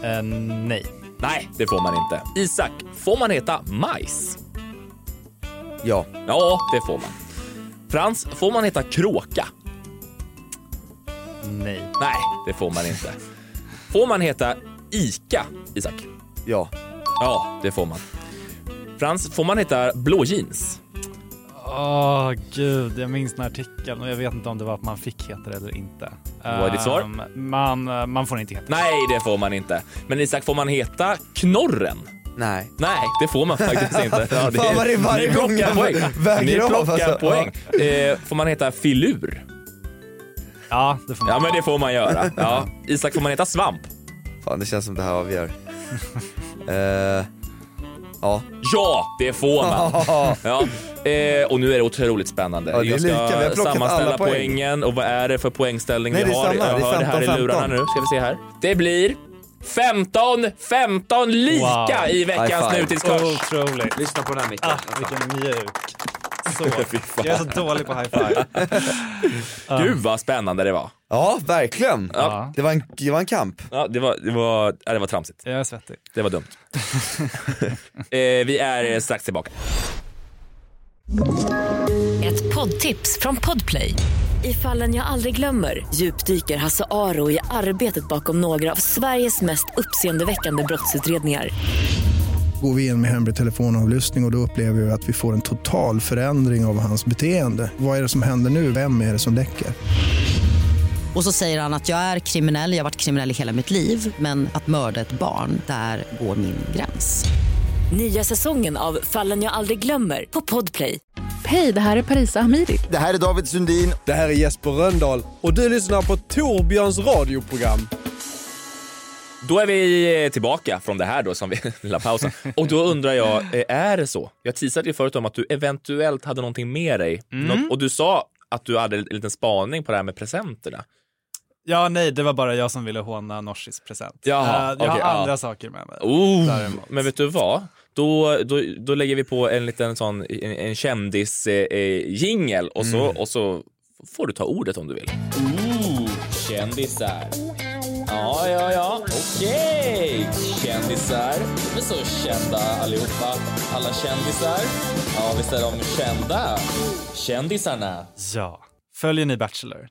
Speaker 3: nej. Nej, det får man inte. Isak, får man heta majs?
Speaker 5: Ja.
Speaker 3: Ja, det får man. Frans, får man heta kråka? Nej. Nej, det får man inte. Får man heta Ica, Isak?
Speaker 5: Ja.
Speaker 3: Ja, det får man. Frans, får man heta blå jeans?
Speaker 1: Åh gud, jag minns den här artikeln och jag vet inte om det var att man fick heta det eller inte.
Speaker 3: Vad är ditt svar?
Speaker 1: Ehm, Man, man får inte heta
Speaker 3: Nej, det får man inte. Men Isak, får man heta Knorren?
Speaker 5: Nej.
Speaker 3: Nej, det får man faktiskt inte.
Speaker 5: Ja, det- Fan, vad det är varje
Speaker 3: ni plockar
Speaker 5: gång
Speaker 3: poäng.
Speaker 5: jag väger
Speaker 3: Ni
Speaker 5: av,
Speaker 3: plockar
Speaker 5: alltså.
Speaker 3: poäng. Eh, får man heta filur?
Speaker 1: Ja, det får
Speaker 3: man. Ja, men det får man göra. Ja. Isak, får man heta svamp?
Speaker 5: Fan det känns som det här avgör. Eh, ja.
Speaker 3: Ja, det får man. Ja. Eh, och nu är det otroligt spännande.
Speaker 5: Ja, det är
Speaker 3: jag ska
Speaker 5: lika. Vi har plockat
Speaker 3: sammanställa
Speaker 5: alla poäng.
Speaker 3: poängen och vad är det för poängställning
Speaker 5: Nej,
Speaker 3: vi
Speaker 5: det är
Speaker 3: har.
Speaker 5: samma.
Speaker 3: Jag
Speaker 5: Det är
Speaker 3: hör det här
Speaker 5: 15-15.
Speaker 3: i lurarna nu. Ska vi se här. Det blir 15, 15 lika
Speaker 1: Wow.
Speaker 3: i veckans
Speaker 1: High five.
Speaker 3: nutidscoach.
Speaker 1: Otroligt.
Speaker 5: Lyssna på den här micken.
Speaker 1: Ah, vilken mjuk. Så.
Speaker 3: Fy fan.
Speaker 1: Jag är så dålig på high five.
Speaker 3: Gud vad spännande det var.
Speaker 5: Ja, verkligen.
Speaker 3: Ja.
Speaker 5: Det, var en, det var en kamp.
Speaker 3: Ja, det var, det var, ja, det var tramsigt.
Speaker 1: Jag är svettig.
Speaker 3: Det var dumt. eh, vi är strax tillbaka.
Speaker 6: Ett poddtips från Podplay. I fallen jag aldrig glömmer djupdyker Hasse Aro i arbetet bakom några av Sveriges mest uppseendeväckande brottsutredningar.
Speaker 18: Går vi in med hemlig telefonavlyssning och, och då upplever vi att vi får en total förändring av hans beteende. Vad är det som händer nu? Vem är det som läcker?
Speaker 19: Och så säger han att jag är kriminell, jag har varit kriminell i hela mitt liv men att mörda ett barn, där går min gräns.
Speaker 6: Nya säsongen av Fallen jag aldrig glömmer på Podplay.
Speaker 20: Hej, det här är Parisa Hamidi.
Speaker 21: Det här är David Sundin.
Speaker 22: Det här är Jesper Rönndahl och du lyssnar på Torbjörns radioprogram.
Speaker 3: Då är vi eh, tillbaka från det här då som vi, lilla pausen. Och då undrar jag, eh, är det så? Jag teasade ju förut om att du eventuellt hade någonting med dig.
Speaker 1: Mm.
Speaker 3: Något- och du sa att du hade en liten spaning på det här med presenterna.
Speaker 1: Ja, nej, det var bara jag som ville håna Nooshis present.
Speaker 3: Jaha,
Speaker 1: Eh, jag
Speaker 3: okej,
Speaker 1: har
Speaker 3: ja.
Speaker 1: andra saker med mig.
Speaker 3: Oh,
Speaker 1: Däremot.
Speaker 3: men vet du vad? Då, då, då lägger vi på en liten sån en, en kändis eh, eh, jingle och, så,
Speaker 1: Mm.
Speaker 3: och så får du ta ordet om du vill. kändisar. Ja, ja, ja. Okej. Kändisar. De är så kända allihopa. Alla kändisar. Ja, visst är de kända. Kändisarna.
Speaker 1: Ja. Följer ni Bachelor?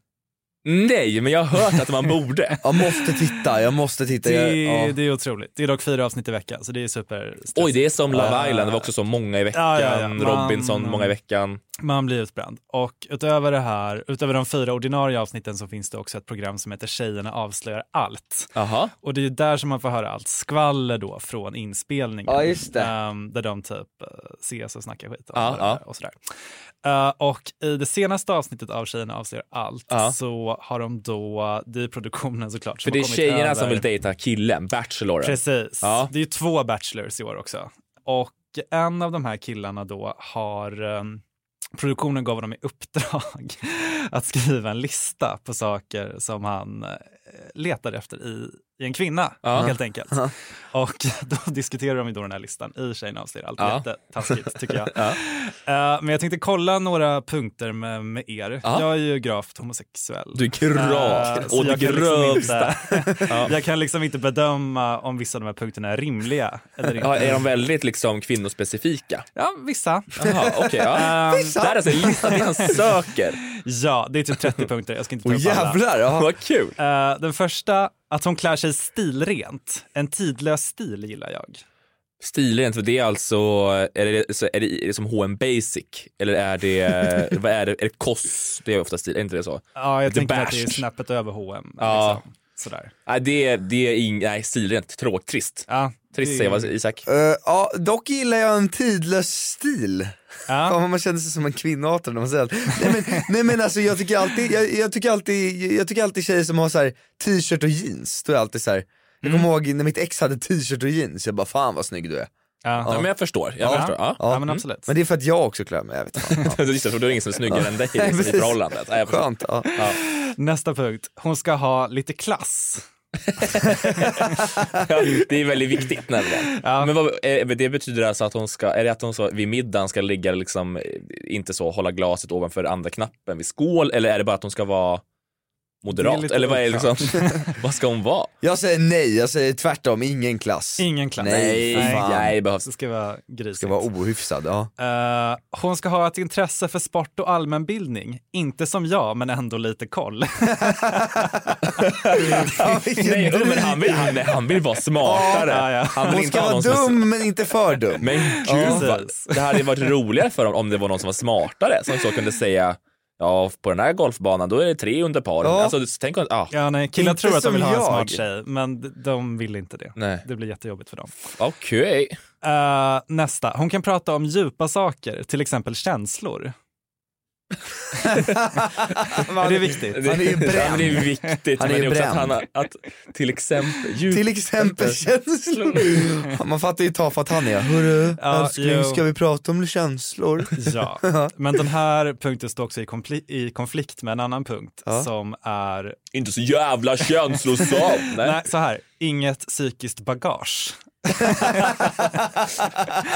Speaker 3: Mm, Nej, men jag har hört att man borde.
Speaker 5: Jag måste titta, jag måste titta. Jag,
Speaker 1: Det,
Speaker 5: ja.
Speaker 1: det är otroligt. Det är dock fyra avsnitt i veckan, så det är super.
Speaker 3: Oj, det är som Love
Speaker 1: Ah.
Speaker 3: Island. Det var också så många i veckan.
Speaker 1: Ja, ja, ja.
Speaker 3: Robinson,
Speaker 1: Man-
Speaker 3: många i veckan.
Speaker 1: Man blir utbränd. Och utöver det här, utöver de fyra ordinarie avsnitten så finns det också ett program som heter Tjejerna avslöjar allt.
Speaker 3: Aha.
Speaker 1: Och det är ju där som man får höra allt skvaller då från inspelningen.
Speaker 5: Ja, just det.
Speaker 1: Ehm, där de typ eh, ses och snackar skit om
Speaker 3: Ja,
Speaker 1: varandra och sådär. Eh, och i det senaste avsnittet av Tjejerna avslöjar allt
Speaker 3: Ja.
Speaker 1: så så har de då, det är produktionen såklart.
Speaker 3: För
Speaker 1: som
Speaker 3: det är
Speaker 1: har kommit
Speaker 3: tjejerna
Speaker 1: över-
Speaker 3: som vill dejta killen, bacheloren.
Speaker 1: Precis.
Speaker 3: Ja.
Speaker 1: Det är ju två Bachelors i år också. Och en av de här killarna då har eh, Produktionen gav honom i uppdrag att skriva en lista på saker som han eh, letar efter i, i en kvinna,
Speaker 3: Ja.
Speaker 1: helt enkelt.
Speaker 3: Ja.
Speaker 1: Och då diskuterar de ju då den här listan i Tjejerna avslöjar allt.
Speaker 3: Ja.
Speaker 1: Jättetaskigt, tycker jag.
Speaker 3: Ja.
Speaker 1: Eh, men jag tänkte kolla några punkter med, med er.
Speaker 3: Ja.
Speaker 1: Jag är ju gravt homosexuell.
Speaker 3: Du är gravt,
Speaker 1: Eh, så
Speaker 3: å det
Speaker 1: jag kan liksom
Speaker 3: grövsta.
Speaker 1: inte-
Speaker 3: Ja.
Speaker 1: Jag kan liksom inte bedöma om vissa av de här punkterna är rimliga eller inte.
Speaker 3: Ja, är de väldigt liksom kvinnospecifika?
Speaker 1: Ja, vissa.
Speaker 3: Jaha, okej. ja.
Speaker 1: Ehm,
Speaker 3: Det här är alltså en lista det han söker.
Speaker 1: Ja, det är typ 30 punkter. Jag ska inte ta
Speaker 3: Åh,
Speaker 1: upp alla.
Speaker 3: jävlar, ja. Vad kul.
Speaker 1: Eh, den första, att hon klär sig stilrent. En tidlös stil gillar jag.
Speaker 3: Stilrent, för det är alltså, är det, så är det, är det som H&M Basic? Eller är det, vad är det, är det Koss? Det är ofta stil, är inte det så?
Speaker 1: Ja, jag
Speaker 3: Lite
Speaker 1: tänker mig att det är
Speaker 3: beige.
Speaker 1: snäppet över H&M.
Speaker 3: Ja.
Speaker 1: Liksom. Sådär.
Speaker 3: Nej, det, är- det är ing, nej, stilrent, tråkigt, trist. trist
Speaker 1: det-
Speaker 3: säger vad Isak.
Speaker 5: Eh, ja, dock gillar jag en tidlös stil. Fan vad man känner sig som en kvinnohatare när man säger allt. Nej men, nej, men alltså jag tycker alltid, jag, jag tycker alltid, jag tycker alltid tjejer som har så här t-shirt och jeans, då är jag alltid så här. Jag kommer
Speaker 3: Mm.
Speaker 5: ihåg när mitt ex hade t-shirt och jeans, jag bara fan vad snygg du är.
Speaker 1: Ja,
Speaker 3: men jag förstår, jag förstår. Ja. Ja, men absolut.
Speaker 5: Men det är för att jag också klär mig, jag vet inte.
Speaker 3: Just det, för då är det ingen som är snyggare
Speaker 5: Ja.
Speaker 3: än dig
Speaker 5: Nej,
Speaker 3: liksom, i
Speaker 5: precis.
Speaker 3: förhållandet. Nej, jag förstår.
Speaker 5: Skönt, ja.
Speaker 1: Nästa punkt, hon ska ha lite klass.
Speaker 3: Ja, det är väldigt viktigt nämligen. Men vad, eh, det betyder alltså att hon ska, är det att hon ska, vid middagen ska ligga liksom, eh, inte så, hålla glaset ovanför andra knappen vid skål eller är det bara att hon ska vara moderat?
Speaker 5: lite
Speaker 3: Eller vad är det liksom,
Speaker 5: oklart.
Speaker 3: vad ska hon vara?
Speaker 5: Jag säger nej, jag säger tvärtom, ingen klass.
Speaker 1: Ingen klass.
Speaker 5: Nej,
Speaker 1: Nej,
Speaker 5: fan.
Speaker 1: nej, det
Speaker 3: behövs.
Speaker 1: ska vara grisigt.
Speaker 5: Ska vara ohyfsad, ja.
Speaker 1: Eh, hon ska ha ett intresse för sport och allmänbildning. Inte som jag, men ändå lite koll.
Speaker 3: Nej, jo, men han vill, han, nej, han vill vara smartare.
Speaker 1: Ja, ja.
Speaker 3: Han vill
Speaker 5: Hon
Speaker 3: inte ha
Speaker 5: ska vara
Speaker 3: någon som är-
Speaker 5: dum men inte för dum.
Speaker 3: Men
Speaker 5: Ja.
Speaker 3: gud, vad, det hade ju varit roligare för dem om det var någon som var smartare som så kunde säga Ja, på den här golfbanan då är det tre under par.
Speaker 1: Ja.
Speaker 3: Alltså, tänk om, ah.
Speaker 1: Ja, nej, killar tror att de vill ha en smart tjej, men d- de vill inte det.
Speaker 3: Nej.
Speaker 1: Det blir jättejobbigt för dem.
Speaker 3: Okej.
Speaker 1: Eh, nästa. Hon kan prata om djupa saker, till exempel känslor. är det viktigt?
Speaker 3: Det- Ja, men det är viktigt.
Speaker 5: Han är
Speaker 3: men det
Speaker 5: ju
Speaker 3: också att,
Speaker 5: bränd.
Speaker 3: han har, att till exempel... djup-
Speaker 5: Till exempel känslor. Man fattar ju tafatt han är. Hörru,
Speaker 1: Ja,
Speaker 5: älskling
Speaker 1: jo.
Speaker 5: ska vi prata om känslor?
Speaker 1: Ja, men den här punkten står också i, kompli- i konflikt med en annan punkt som är...
Speaker 3: Inte så jävla känslosam! Nej.
Speaker 1: Nej, så här. Inget psykiskt bagage.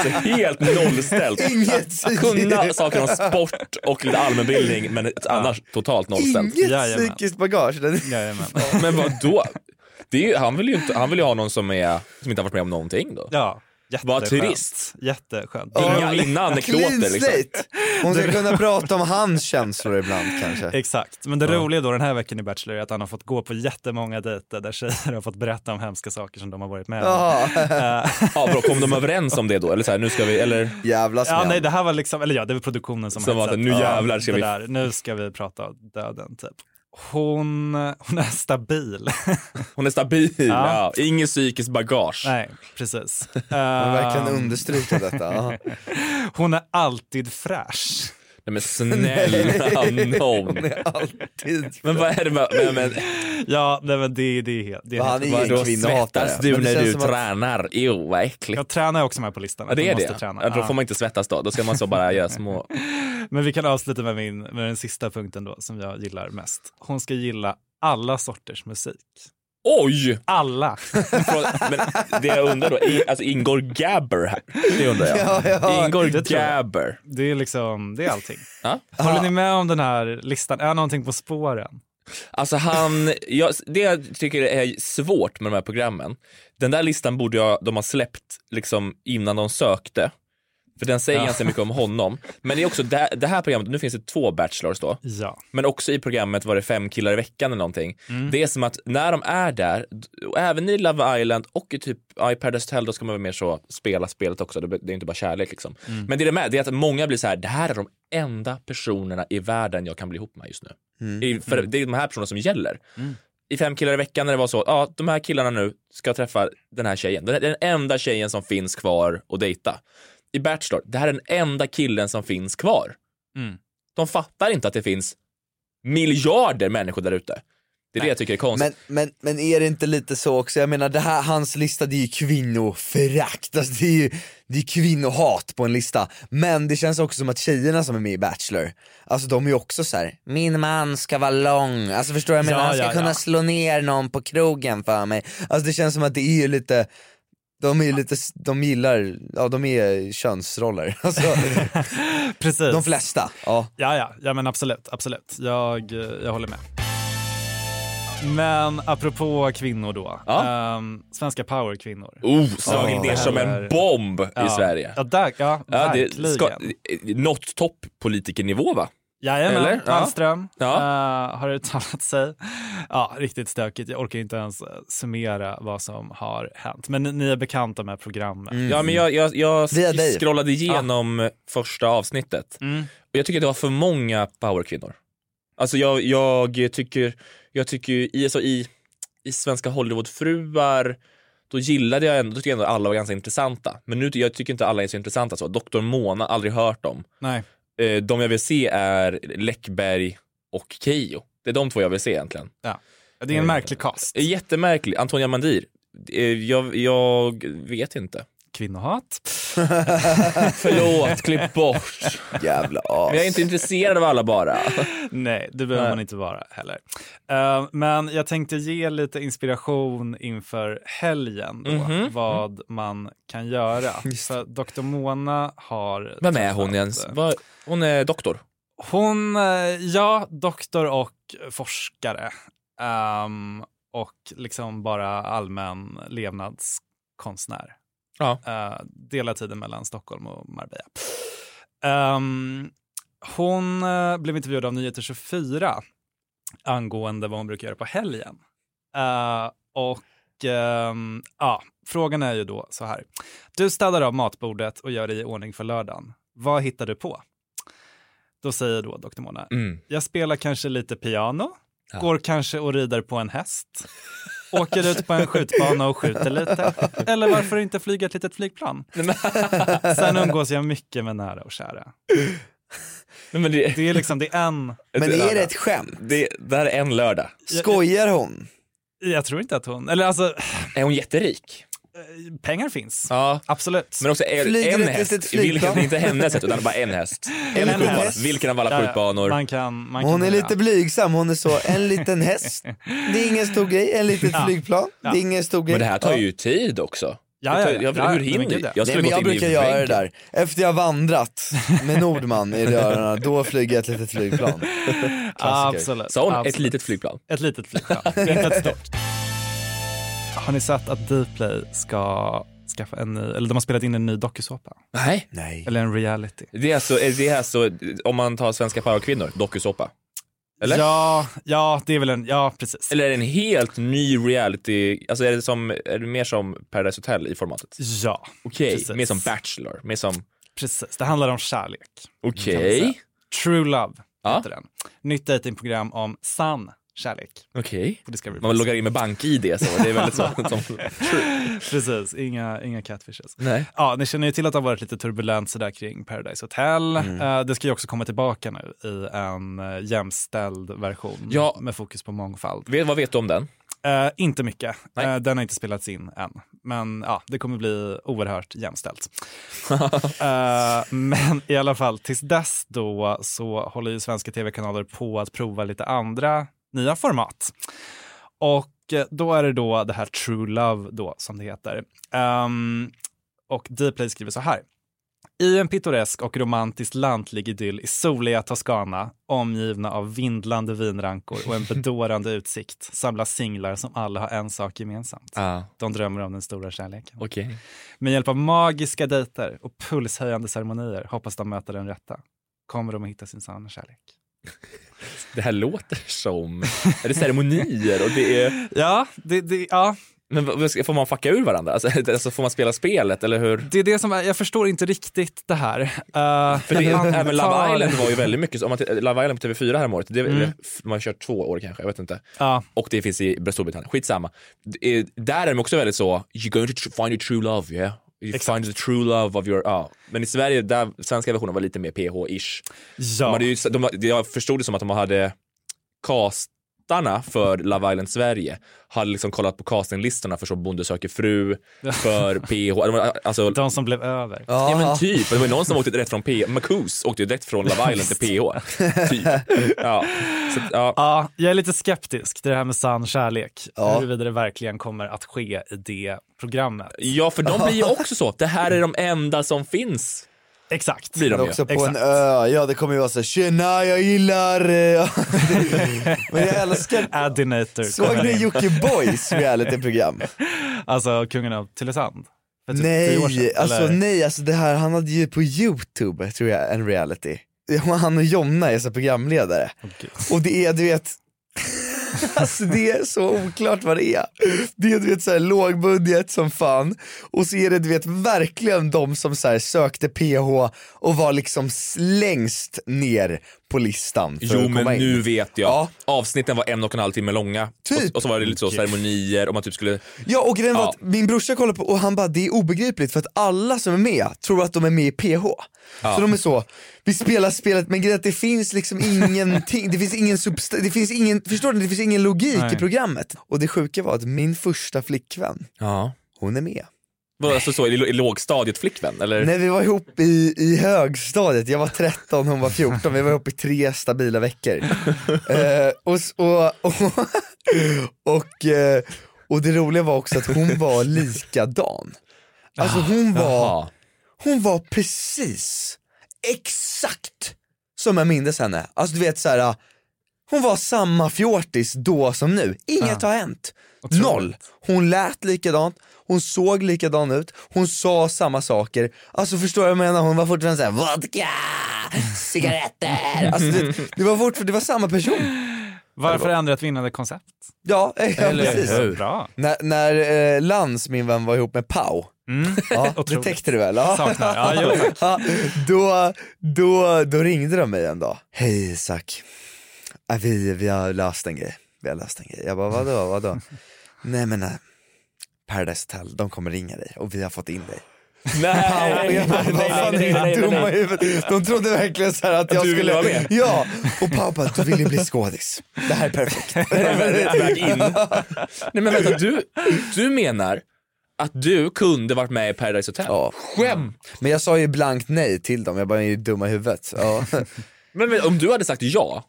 Speaker 3: Så helt nollställt.
Speaker 1: Inget
Speaker 3: Att kunna saker om sport och lite allmänbildning men annars totalt nollställt.
Speaker 5: Inget psykiskt bagage. Den...
Speaker 3: Men vad då? Det är ju, han, vill ju inte, han vill ju ha någon som, är, som inte har varit med om någonting då.
Speaker 1: Ja,
Speaker 3: Vad
Speaker 1: Jätteskönt.
Speaker 3: turist.
Speaker 1: Jätteskönt.
Speaker 3: Inga, inga
Speaker 5: Clean
Speaker 3: anekdoter liksom.
Speaker 5: slate. Hon ska kunna prata om hans känslor ibland kanske.
Speaker 1: Exakt, men det
Speaker 5: Ja.
Speaker 1: roliga då den här veckan i Bachelor är att han har fått gå på jättemånga dejter där tjejer har fått berätta om hemska saker som de har varit med om.
Speaker 3: Ah,
Speaker 5: Ja.
Speaker 1: Eh,
Speaker 3: Ja, bra, kom de överens om det då? Eller så här, nu ska vi, eller?
Speaker 5: Jävla
Speaker 1: Ja, nej, det här var liksom, eller ja, det var produktionen som,
Speaker 3: Som
Speaker 1: hade
Speaker 3: var att
Speaker 1: sett,
Speaker 3: nu
Speaker 1: ja,
Speaker 3: jävlar ska
Speaker 1: det
Speaker 3: vi-
Speaker 1: Där. Nu ska vi prata om döden, typ. Hon, hon är stabil.
Speaker 3: Hon är stabil,
Speaker 1: Ja.
Speaker 3: ja. Inget psykiskt bagage.
Speaker 1: nej, precis.
Speaker 5: Hon vill verkligen
Speaker 1: Ehm,
Speaker 5: understryka detta. ja.
Speaker 1: Hon är alltid fräsch.
Speaker 3: Nej men snälla
Speaker 1: Nej,
Speaker 3: nån.
Speaker 1: hon är
Speaker 3: Men vad är det med... Men, men,
Speaker 1: Ja, nej, men det, det är helt... Det är
Speaker 3: Vad
Speaker 1: helt
Speaker 3: han är
Speaker 1: otroligt.
Speaker 3: ingen Då kvinnohatare. svettas du
Speaker 1: Men det
Speaker 3: när
Speaker 1: känns
Speaker 3: du
Speaker 1: som att-
Speaker 3: tränar. Jo, vad äckligt.
Speaker 1: Jag tränar är också med på listan.
Speaker 3: ja,
Speaker 1: att man
Speaker 3: det är
Speaker 1: måste
Speaker 3: det.
Speaker 1: Träna.
Speaker 3: Ja, då
Speaker 1: Ja.
Speaker 3: får man inte svettas då. Då ska man så bara göra små...
Speaker 1: Men vi kan avsluta med, min, med den sista punkten då, som jag gillar mest. Hon ska gilla alla sorters musik.
Speaker 3: Oj!
Speaker 1: Alla.
Speaker 3: Förlåt, Men det jag undrar då, i- alltså ingår Gabber här? Det undrar jag.
Speaker 1: Ja, ja,
Speaker 3: ingår
Speaker 1: det tror jag.
Speaker 3: Gabber?
Speaker 1: Det är liksom, det är allting.
Speaker 3: Ja.
Speaker 1: Håller ni med om den här listan? Är någonting på spåren?
Speaker 3: Alltså han, jag, det jag tycker är svårt med de här programmen, den där listan borde jag, de ha släppt liksom innan de sökte. För den säger
Speaker 1: Ja.
Speaker 3: ganska mycket om honom. Men det är också det, det här programmet, nu finns det två Bachelors då.
Speaker 1: Ja.
Speaker 3: Men också i programmet var det fem killar i veckan eller någonting.
Speaker 1: Mm.
Speaker 3: Det är som att när de är där, och även i Love Island och i typ ja, i Paradise Hotel, då ska man vara mer så spela spelet också. Det det är inte bara kärlek liksom.
Speaker 1: Mm.
Speaker 3: Men det är med, det är att många blir så här, det här är de enda personerna i världen jag kan bli ihop med just nu. I, för det är de här personerna som gäller.
Speaker 1: Mm.
Speaker 3: I Fem killar i veckan när det var så, ja de här killarna nu ska träffa den här tjejen. Den, den enda tjejen som finns kvar att dejta. I Bachelor, det här är den enda killen som finns kvar.
Speaker 1: Mm.
Speaker 3: De fattar inte att det finns miljarder människor där ute. Det är det jag tycker är konstigt.
Speaker 5: Men, men, men är det inte lite så också, jag menar det här, hans lista det är ju kvinnoförakt, alltså, det, är ju, det är kvinnohat på en lista. Men det känns också som att tjejerna som är med i Bachelor, alltså de är ju också så här. min man ska vara lång, alltså förstår du vad jag menar?
Speaker 2: Ja,
Speaker 5: Han ska
Speaker 2: ja,
Speaker 5: kunna
Speaker 2: ja.
Speaker 5: slå ner någon på krogen för mig. Alltså det känns som att det är ju lite de är ju lite, de gillar, ja de är könsroller. Alltså,
Speaker 1: Precis.
Speaker 5: De flesta. Ja.
Speaker 1: Ja, ja, ja men absolut, absolut. Jag, eh, jag håller med. Men apropå kvinnor då, ehm, svenska powerkvinnor.
Speaker 3: Oh, slagit
Speaker 1: Ja,
Speaker 3: ner
Speaker 1: det
Speaker 3: som
Speaker 1: här
Speaker 3: en
Speaker 1: är-
Speaker 3: bomb i
Speaker 1: Ja.
Speaker 3: Sverige.
Speaker 1: Ja, där, ja,
Speaker 3: Ja, det
Speaker 1: verkligen.
Speaker 3: ska, något toppolitikernivå va?
Speaker 1: Jajamän,
Speaker 3: Eller? Ja.
Speaker 1: Wallström eh, har uttalat sig. Ja, riktigt stökigt. Jag orkar inte ens eh, summera vad som har hänt. Men ni, ni är bekanta med programmet.
Speaker 3: Ja, men jag, jag, jag
Speaker 1: Via dig.
Speaker 3: scrollade igenom eh, första avsnittet
Speaker 1: Mm.
Speaker 3: och jag tycker det var för många powerkvinnor. Alltså jag, jag tycker, jag tycker ju i, alltså i, i svenska Hollywoodfruar då gillade jag ändå, då tycker jag ändå att alla var ganska intressanta. Men nu ty- jag tycker inte alla är så intressanta så. Doktor Mona, aldrig hört om.
Speaker 1: Nej.
Speaker 3: Eh, de jag vill se är Läckberg och Keio. Det är de två jag vill se egentligen.
Speaker 1: Ja. Det är en märklig cast.
Speaker 3: Eh, Jättemärklig. Antonia Mandir. Eh, Jag, jag vet inte.
Speaker 1: Kvinnohat.
Speaker 3: Förlåt, klipp bort.
Speaker 5: Jävla as.
Speaker 3: Men jag är inte intresserad av alla bara.
Speaker 1: Nej, det behöver
Speaker 3: Nej.
Speaker 1: man inte vara heller. Eh, men jag tänkte ge lite inspiration inför helgen då,
Speaker 3: Mhm.
Speaker 1: vad man kan göra. För Dr. Mona har...
Speaker 3: Vem är hon ens? Vad- Hon är doktor.
Speaker 1: Hon, eh, ja, doktor och forskare. Ehm, och liksom bara allmän levnadskonstnär.
Speaker 3: Ja.
Speaker 1: Eh, delar tiden mellan Stockholm och Marbella. Ehm, hon eh, blev intervjuad av Nyheter 24 angående vad hon brukar göra på helgen. Eh, och ehm, ja, frågan är ju då så här. Du städar av matbordet och gör dig i ordning för lördagen. Vad hittar du på? Då säger då Dr. Mona,
Speaker 3: Mm.
Speaker 1: jag spelar kanske lite piano, går kanske och rider på en häst, åker ut på en skjutbana och skjuter lite, eller varför inte flyga ett litet flygplan? Sen umgås jag mycket med nära och kära.
Speaker 3: men det...
Speaker 1: är liksom, det är en...
Speaker 5: Men är det ett skämt?
Speaker 3: Det, det här är en lördag.
Speaker 5: Skojar hon?
Speaker 1: Jag tror inte att hon, eller alltså...
Speaker 3: Är hon jätterik?
Speaker 1: Pengar finns,
Speaker 3: ja.
Speaker 1: absolut.
Speaker 3: Men också en, en häst, vilken, inte hennes häst utan bara en häst. En skjutbana, vilken av alla
Speaker 1: Ja, ja.
Speaker 3: skjutbanor.
Speaker 1: Man kan, man
Speaker 5: Hon
Speaker 1: kan
Speaker 5: är
Speaker 1: göra.
Speaker 5: lite blygsam, hon är så, en liten häst, det är ingen stor grej, en litet
Speaker 1: Ja.
Speaker 5: flygplan,
Speaker 1: Ja.
Speaker 5: det är ingen stor grej.
Speaker 3: Men det här tar
Speaker 5: Ja.
Speaker 3: ju tid också.
Speaker 5: Ja,
Speaker 3: Det tar-
Speaker 5: ja, ja.
Speaker 3: jag-
Speaker 5: Ja,
Speaker 3: Hur
Speaker 5: men
Speaker 3: hinner
Speaker 5: gud, ja.
Speaker 3: jag? skulle
Speaker 5: Nej, men
Speaker 3: gått
Speaker 5: jag
Speaker 3: in i
Speaker 5: brukar göra det
Speaker 3: väggen.
Speaker 5: där. Efter jag vandrat med Nordman i öronen, då flyger jag ett litet flygplan. Klassiker.
Speaker 1: Absolut.
Speaker 3: Sa hon ett
Speaker 5: Alltså.
Speaker 1: absolut.
Speaker 3: litet flygplan?
Speaker 1: Ett litet flygplan, inte ett stort. Har ni sett att Dplay ska skaffa en ny, eller de har spelat in en ny dokusåpa?
Speaker 3: Nej.
Speaker 5: Nej.
Speaker 1: Eller en reality.
Speaker 3: Det är alltså, är det är alltså om man tar Svenska powerkvinnor, dokusåpa. Eller?
Speaker 1: Ja, ja, det är väl en, ja precis.
Speaker 3: Eller är det en helt ny reality, alltså är det, som, är det mer som Paradise Hotel i formatet?
Speaker 1: Ja.
Speaker 3: Okej,
Speaker 1: precis.
Speaker 3: mer som Bachelor, mer som,
Speaker 1: Precis, det handlar om kärlek.
Speaker 3: Okej.
Speaker 1: kan man säga. True Love heter den. Nytt dejtingprogram om sann kärlek.
Speaker 3: okej.
Speaker 1: På Discovery
Speaker 3: Man
Speaker 1: Plus.
Speaker 3: loggar in med bank-id så, det är väldigt så. Som,
Speaker 1: Precis, inga, inga catfishes.
Speaker 3: Nej.
Speaker 1: Ja, ni känner ju till att det har varit lite turbulent sådär kring Paradise Hotel.
Speaker 3: Mm.
Speaker 1: Eh, det ska ju också komma tillbaka nu i en uh, jämställd version
Speaker 3: Ja.
Speaker 1: med fokus på mångfald.
Speaker 3: Vet- vad vet du om den?
Speaker 1: Eh, inte mycket. Eh, den har inte spelats in än. Men ja, det kommer bli oerhört jämställt. Eh, men i alla fall, tills dess då så håller ju svenska tv-kanaler på att prova lite andra nya format. Och eh, då är det då det här True Love då, som det heter. Ehm, och Dplay skriver så här. I en pittoresk och romantiskt lantlig idyll i soliga Toscana, omgivna av vindlande vinrankor och en bedårande utsikt, samlas singlar som alla har en sak gemensamt.
Speaker 3: Ja.
Speaker 1: De drömmer om den stora kärleken.
Speaker 3: Okej.
Speaker 1: Med hjälp av magiska dejter och pulshöjande ceremonier hoppas de möta den rätta. Kommer de att hitta sin sanna kärlek?
Speaker 3: Det här låter som, är det ceremonier och det är...
Speaker 1: Ja, det, det ja.
Speaker 3: Men vad- vad ska- får man fucka ur varandra? Alltså, alltså får man spela spelet eller hur?
Speaker 1: Det är det som är, jag förstår inte riktigt det här. Eh,
Speaker 3: För det,
Speaker 1: antal-
Speaker 3: även Love Island var ju väldigt mycket, så- om man tittar- Love Island på TV4 häromåret, det,
Speaker 1: Mm.
Speaker 3: eller f- man har kört två år kanske, jag vet inte.
Speaker 1: Ja.
Speaker 3: Och det finns i Storbritannien, skitsamma. Det är- Där är de också väldigt så, you're going to tr- find your true love, yeah? You find the true love of your, ja. Men i Sverige, där svenska versionen var lite mer PH-ish.
Speaker 1: Ja.
Speaker 3: De hade ju, de, jag förstod det som att de hade castarna för Love Island Sverige hade liksom kollat på castinglistorna för så Bonde söker fru, för PH. det var, Alltså,
Speaker 1: De som blev över.
Speaker 3: Ja men typ, det var ju någon som åkte direkt från PH, Marcus åkte ju direkt från Love Island till PH. Typ. Ja. Så, att, ja.
Speaker 1: Ja, jag är lite skeptisk till det här med sann kärlek.
Speaker 3: Ja.
Speaker 1: Huruvida det verkligen kommer att ske i det programmet.
Speaker 3: ja för de blir ju också så, det här är de enda som finns.
Speaker 1: Exakt.
Speaker 3: Blir de
Speaker 1: Men
Speaker 3: ju.
Speaker 1: också
Speaker 5: På en ö, ja det kommer ju vara såhär “tjena jag gillar...” eh, Men jag älskar...
Speaker 1: Adinator.
Speaker 5: Såg ni Jocke Boys realityprogram?
Speaker 1: Alltså kungen av Tylösand. För typ tio år
Speaker 5: Nej,
Speaker 1: sedan,
Speaker 5: alltså
Speaker 1: eller?
Speaker 5: nej, alltså det här, han hade ju på youtube tror jag en reality. Ja, Han och Jonna är så programledare. Och det är du vet, alltså det är så oklart vad det är. Det är du vet såhär lågbudget som fan och så är det du vet verkligen de som så här, sökte PH och var liksom s- längst ner på listan för
Speaker 3: Jo
Speaker 5: att komma
Speaker 3: men
Speaker 5: in.
Speaker 3: nu vet jag. Avsnitten var en och en halv timme långa.
Speaker 5: Typ.
Speaker 3: Och, och så var det lite så ceremonier och man typ skulle...
Speaker 5: Ja och grejen var
Speaker 3: Ja.
Speaker 5: att min brorsa kollade på och han bara det är obegripligt för att alla som är med tror att de är med i PH.
Speaker 3: Ja.
Speaker 5: Så de är så, vi spelar spelet men grejen är att det finns liksom ingenting, det finns ingen substans, det finns ingen, förstår du? Det finns ingen logik
Speaker 3: Nej.
Speaker 5: i programmet. Och det sjuka var att min första flickvän,
Speaker 3: Ja.
Speaker 5: hon är med.
Speaker 3: Vadå, Alltså så i, i lågstadiet flickvän eller?
Speaker 5: När vi var ihop i, i högstadiet, jag var 13 hon var 14, vi var ihop i tre stabila veckor. Eh, och, s- och, och, och, eh, och det roliga var också att hon var likadan. Alltså hon var, hon var precis, exakt som jag mindes henne. Alltså du vet såhär, hon var samma fjortis då som nu, inget
Speaker 1: Ja.
Speaker 5: har hänt. Noll. Hon lät likadant, hon såg likadan ut, hon sa samma saker. Alltså förstår jag vad jag menar? Hon var fortfarande såhär vodka, cigaretter. Alltså det, det, var fort, det var samma person.
Speaker 1: Varför ändra ett vinnande koncept?
Speaker 5: Ja, ja
Speaker 1: Eller
Speaker 5: precis.
Speaker 1: hur? Bra.
Speaker 5: När, när eh, Lans, min vän, var ihop med Pau. Ja, det
Speaker 1: Mm. Otroligt.
Speaker 5: täckte du väl? Ja.
Speaker 1: Saknar. Ja, jo, tack.
Speaker 5: Ja, då, då, då ringde de mig en dag. Hej Isak, Ja, vi, vi har löst en grej. Vi har löst en grej. Jag bara vadå, vadå? Nej men eh, Paradise Hotel, de kommer ringa dig och vi har fått in dig.
Speaker 3: Nej,
Speaker 5: Och jag bara, vad fan är ni dumma i huvudet? De trodde verkligen så här att
Speaker 3: Att
Speaker 5: jag
Speaker 3: du ville
Speaker 5: skulle...
Speaker 3: vara med?
Speaker 5: Ja, och pappa, du vill ju bli skådis. Det här är perfekt.
Speaker 3: väg in. Nej men vänta, du, du menar att du kunde varit med i Paradise Hotel?
Speaker 5: Ja.
Speaker 3: Skämt!
Speaker 5: Men jag sa ju blankt nej till dem, jag bara, ni är ju dumma i huvudet. Ja.
Speaker 3: Men, men om du hade sagt ja,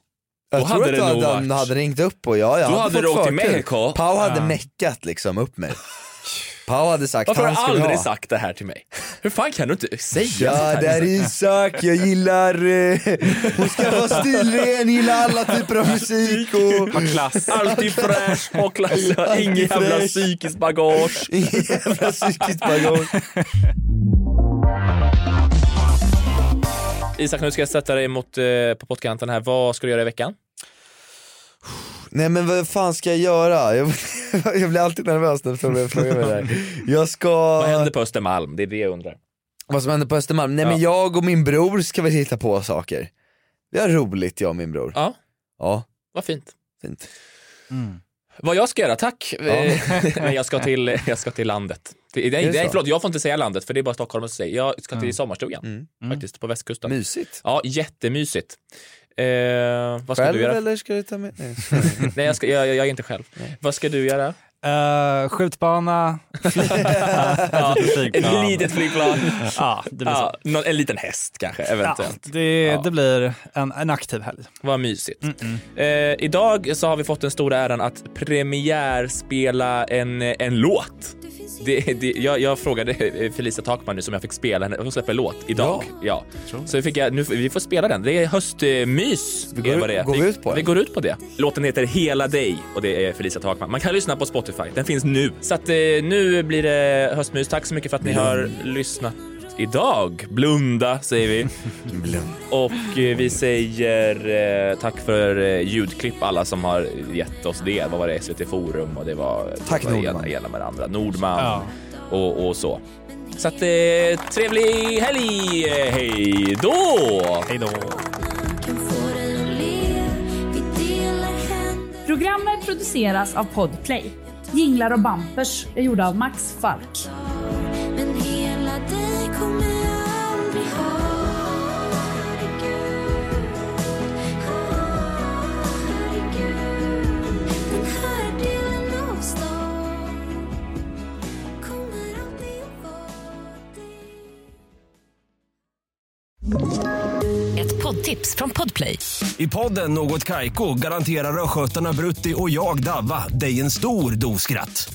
Speaker 3: då
Speaker 5: Jag tror
Speaker 3: hade
Speaker 5: att
Speaker 3: det nog
Speaker 5: han
Speaker 3: varit...
Speaker 5: hade, ringt upp och jag, jag
Speaker 3: Då hade
Speaker 5: fått
Speaker 3: du åkt till
Speaker 5: förtur.
Speaker 3: Mexiko.
Speaker 5: Pau hade
Speaker 3: Ja.
Speaker 5: meckat liksom upp mig. Pau hade sagt
Speaker 3: Varför har
Speaker 5: han
Speaker 3: du
Speaker 5: skulle
Speaker 3: aldrig
Speaker 5: ha.
Speaker 3: sagt det här till mig? Hur fan kan du inte säga
Speaker 5: Ja
Speaker 3: sånt
Speaker 5: det
Speaker 3: här? Liksom.
Speaker 5: är Isak, jag gillar, eh, hon ska vara stilren, gillar alla typer av musik och...
Speaker 1: Ha klass.
Speaker 3: Alltid fräsch och klassad, inget jävla psykiskt bagage.
Speaker 5: Inget jävla psykiskt bagage.
Speaker 3: Isak, nu ska jag sätta dig mot, eh, på pottkanten här. Vad ska du göra i veckan?
Speaker 5: Nej men vad fan ska jag göra? Jag, jag blir alltid nervös när folk frågar mig det här. Jag ska...
Speaker 3: Vad händer på Östermalm? Det är det jag undrar.
Speaker 5: Vad som händer på Östermalm? Nej
Speaker 3: Ja.
Speaker 5: men jag och min bror ska väl hitta på saker. Vi har roligt jag och min bror.
Speaker 3: Ja.
Speaker 5: Ja,
Speaker 3: Vad fint.
Speaker 5: fint.
Speaker 1: Mm.
Speaker 3: Vad jag ska göra, tack. Eh, Nej, jag, ska till, jag ska till landet. Till, nej,
Speaker 5: Är det
Speaker 3: nej,
Speaker 5: så?
Speaker 3: förlåt, jag får inte säga landet för det är bara Stockholm som säger. Jag ska till
Speaker 5: Mm.
Speaker 3: sommarstugan faktiskt på västkusten.
Speaker 5: Mysigt.
Speaker 3: Ja, jättemysigt. Eh, vad ska
Speaker 5: Själv
Speaker 3: du göra?
Speaker 5: eller ska du ta med? Nej.
Speaker 3: Nej, jag, ska, jag, jag jag är inte själv. Vad ska du göra?
Speaker 1: Uh, skjutbana,
Speaker 3: Ja,
Speaker 1: flygplan.
Speaker 3: ett litet flygplan.
Speaker 1: ja, det blir så.
Speaker 3: Ja, någon, en liten häst kanske, eventuellt.
Speaker 1: Ja, det, det blir en, en aktiv helg.
Speaker 3: Vad mysigt.
Speaker 5: Mm,
Speaker 3: Eh, idag så har vi fått den stora äran att premiärspela en, en låt. Det, det, jag, jag frågade eh, Felicia Takman nu som jag fick spela henne. Hon släpper låt idag. Ja. Så fick jag, nu, vi får spela den. Det är höstmys. Vi
Speaker 5: går-
Speaker 3: är vad det är.
Speaker 5: går vi ut på
Speaker 3: Vi
Speaker 5: den?
Speaker 3: går ut på det. Låten heter Hela dig och det är Felicia Takman. Man kan lyssna på Spotify. Den finns nu. Så att, eh, nu blir det höstmys. Tack så mycket för att ni har lyssnat idag. Blunda säger vi. Och eh, vi säger eh, tack för eh, ljudklipp alla som har gett oss det. Vad var det? SVT Forum och det var,
Speaker 5: Tack,
Speaker 3: det var
Speaker 5: Nordman.
Speaker 3: ena, ena med det andra. Nordman
Speaker 5: Ja.
Speaker 3: och, och så. Så att eh, trevlig helg! Hej då! Hej då!
Speaker 2: Programmet produceras av Podplay. Jinglar och bampers är gjorda av Max Falk.
Speaker 21: Men hela dig kommer jag aldrig ha Herregud, herregud
Speaker 6: poddtips från Podplay.
Speaker 18: I podden Något Kaiko garanterar östgötarna Brutti och jag, Davva, dig en stor dos skratt.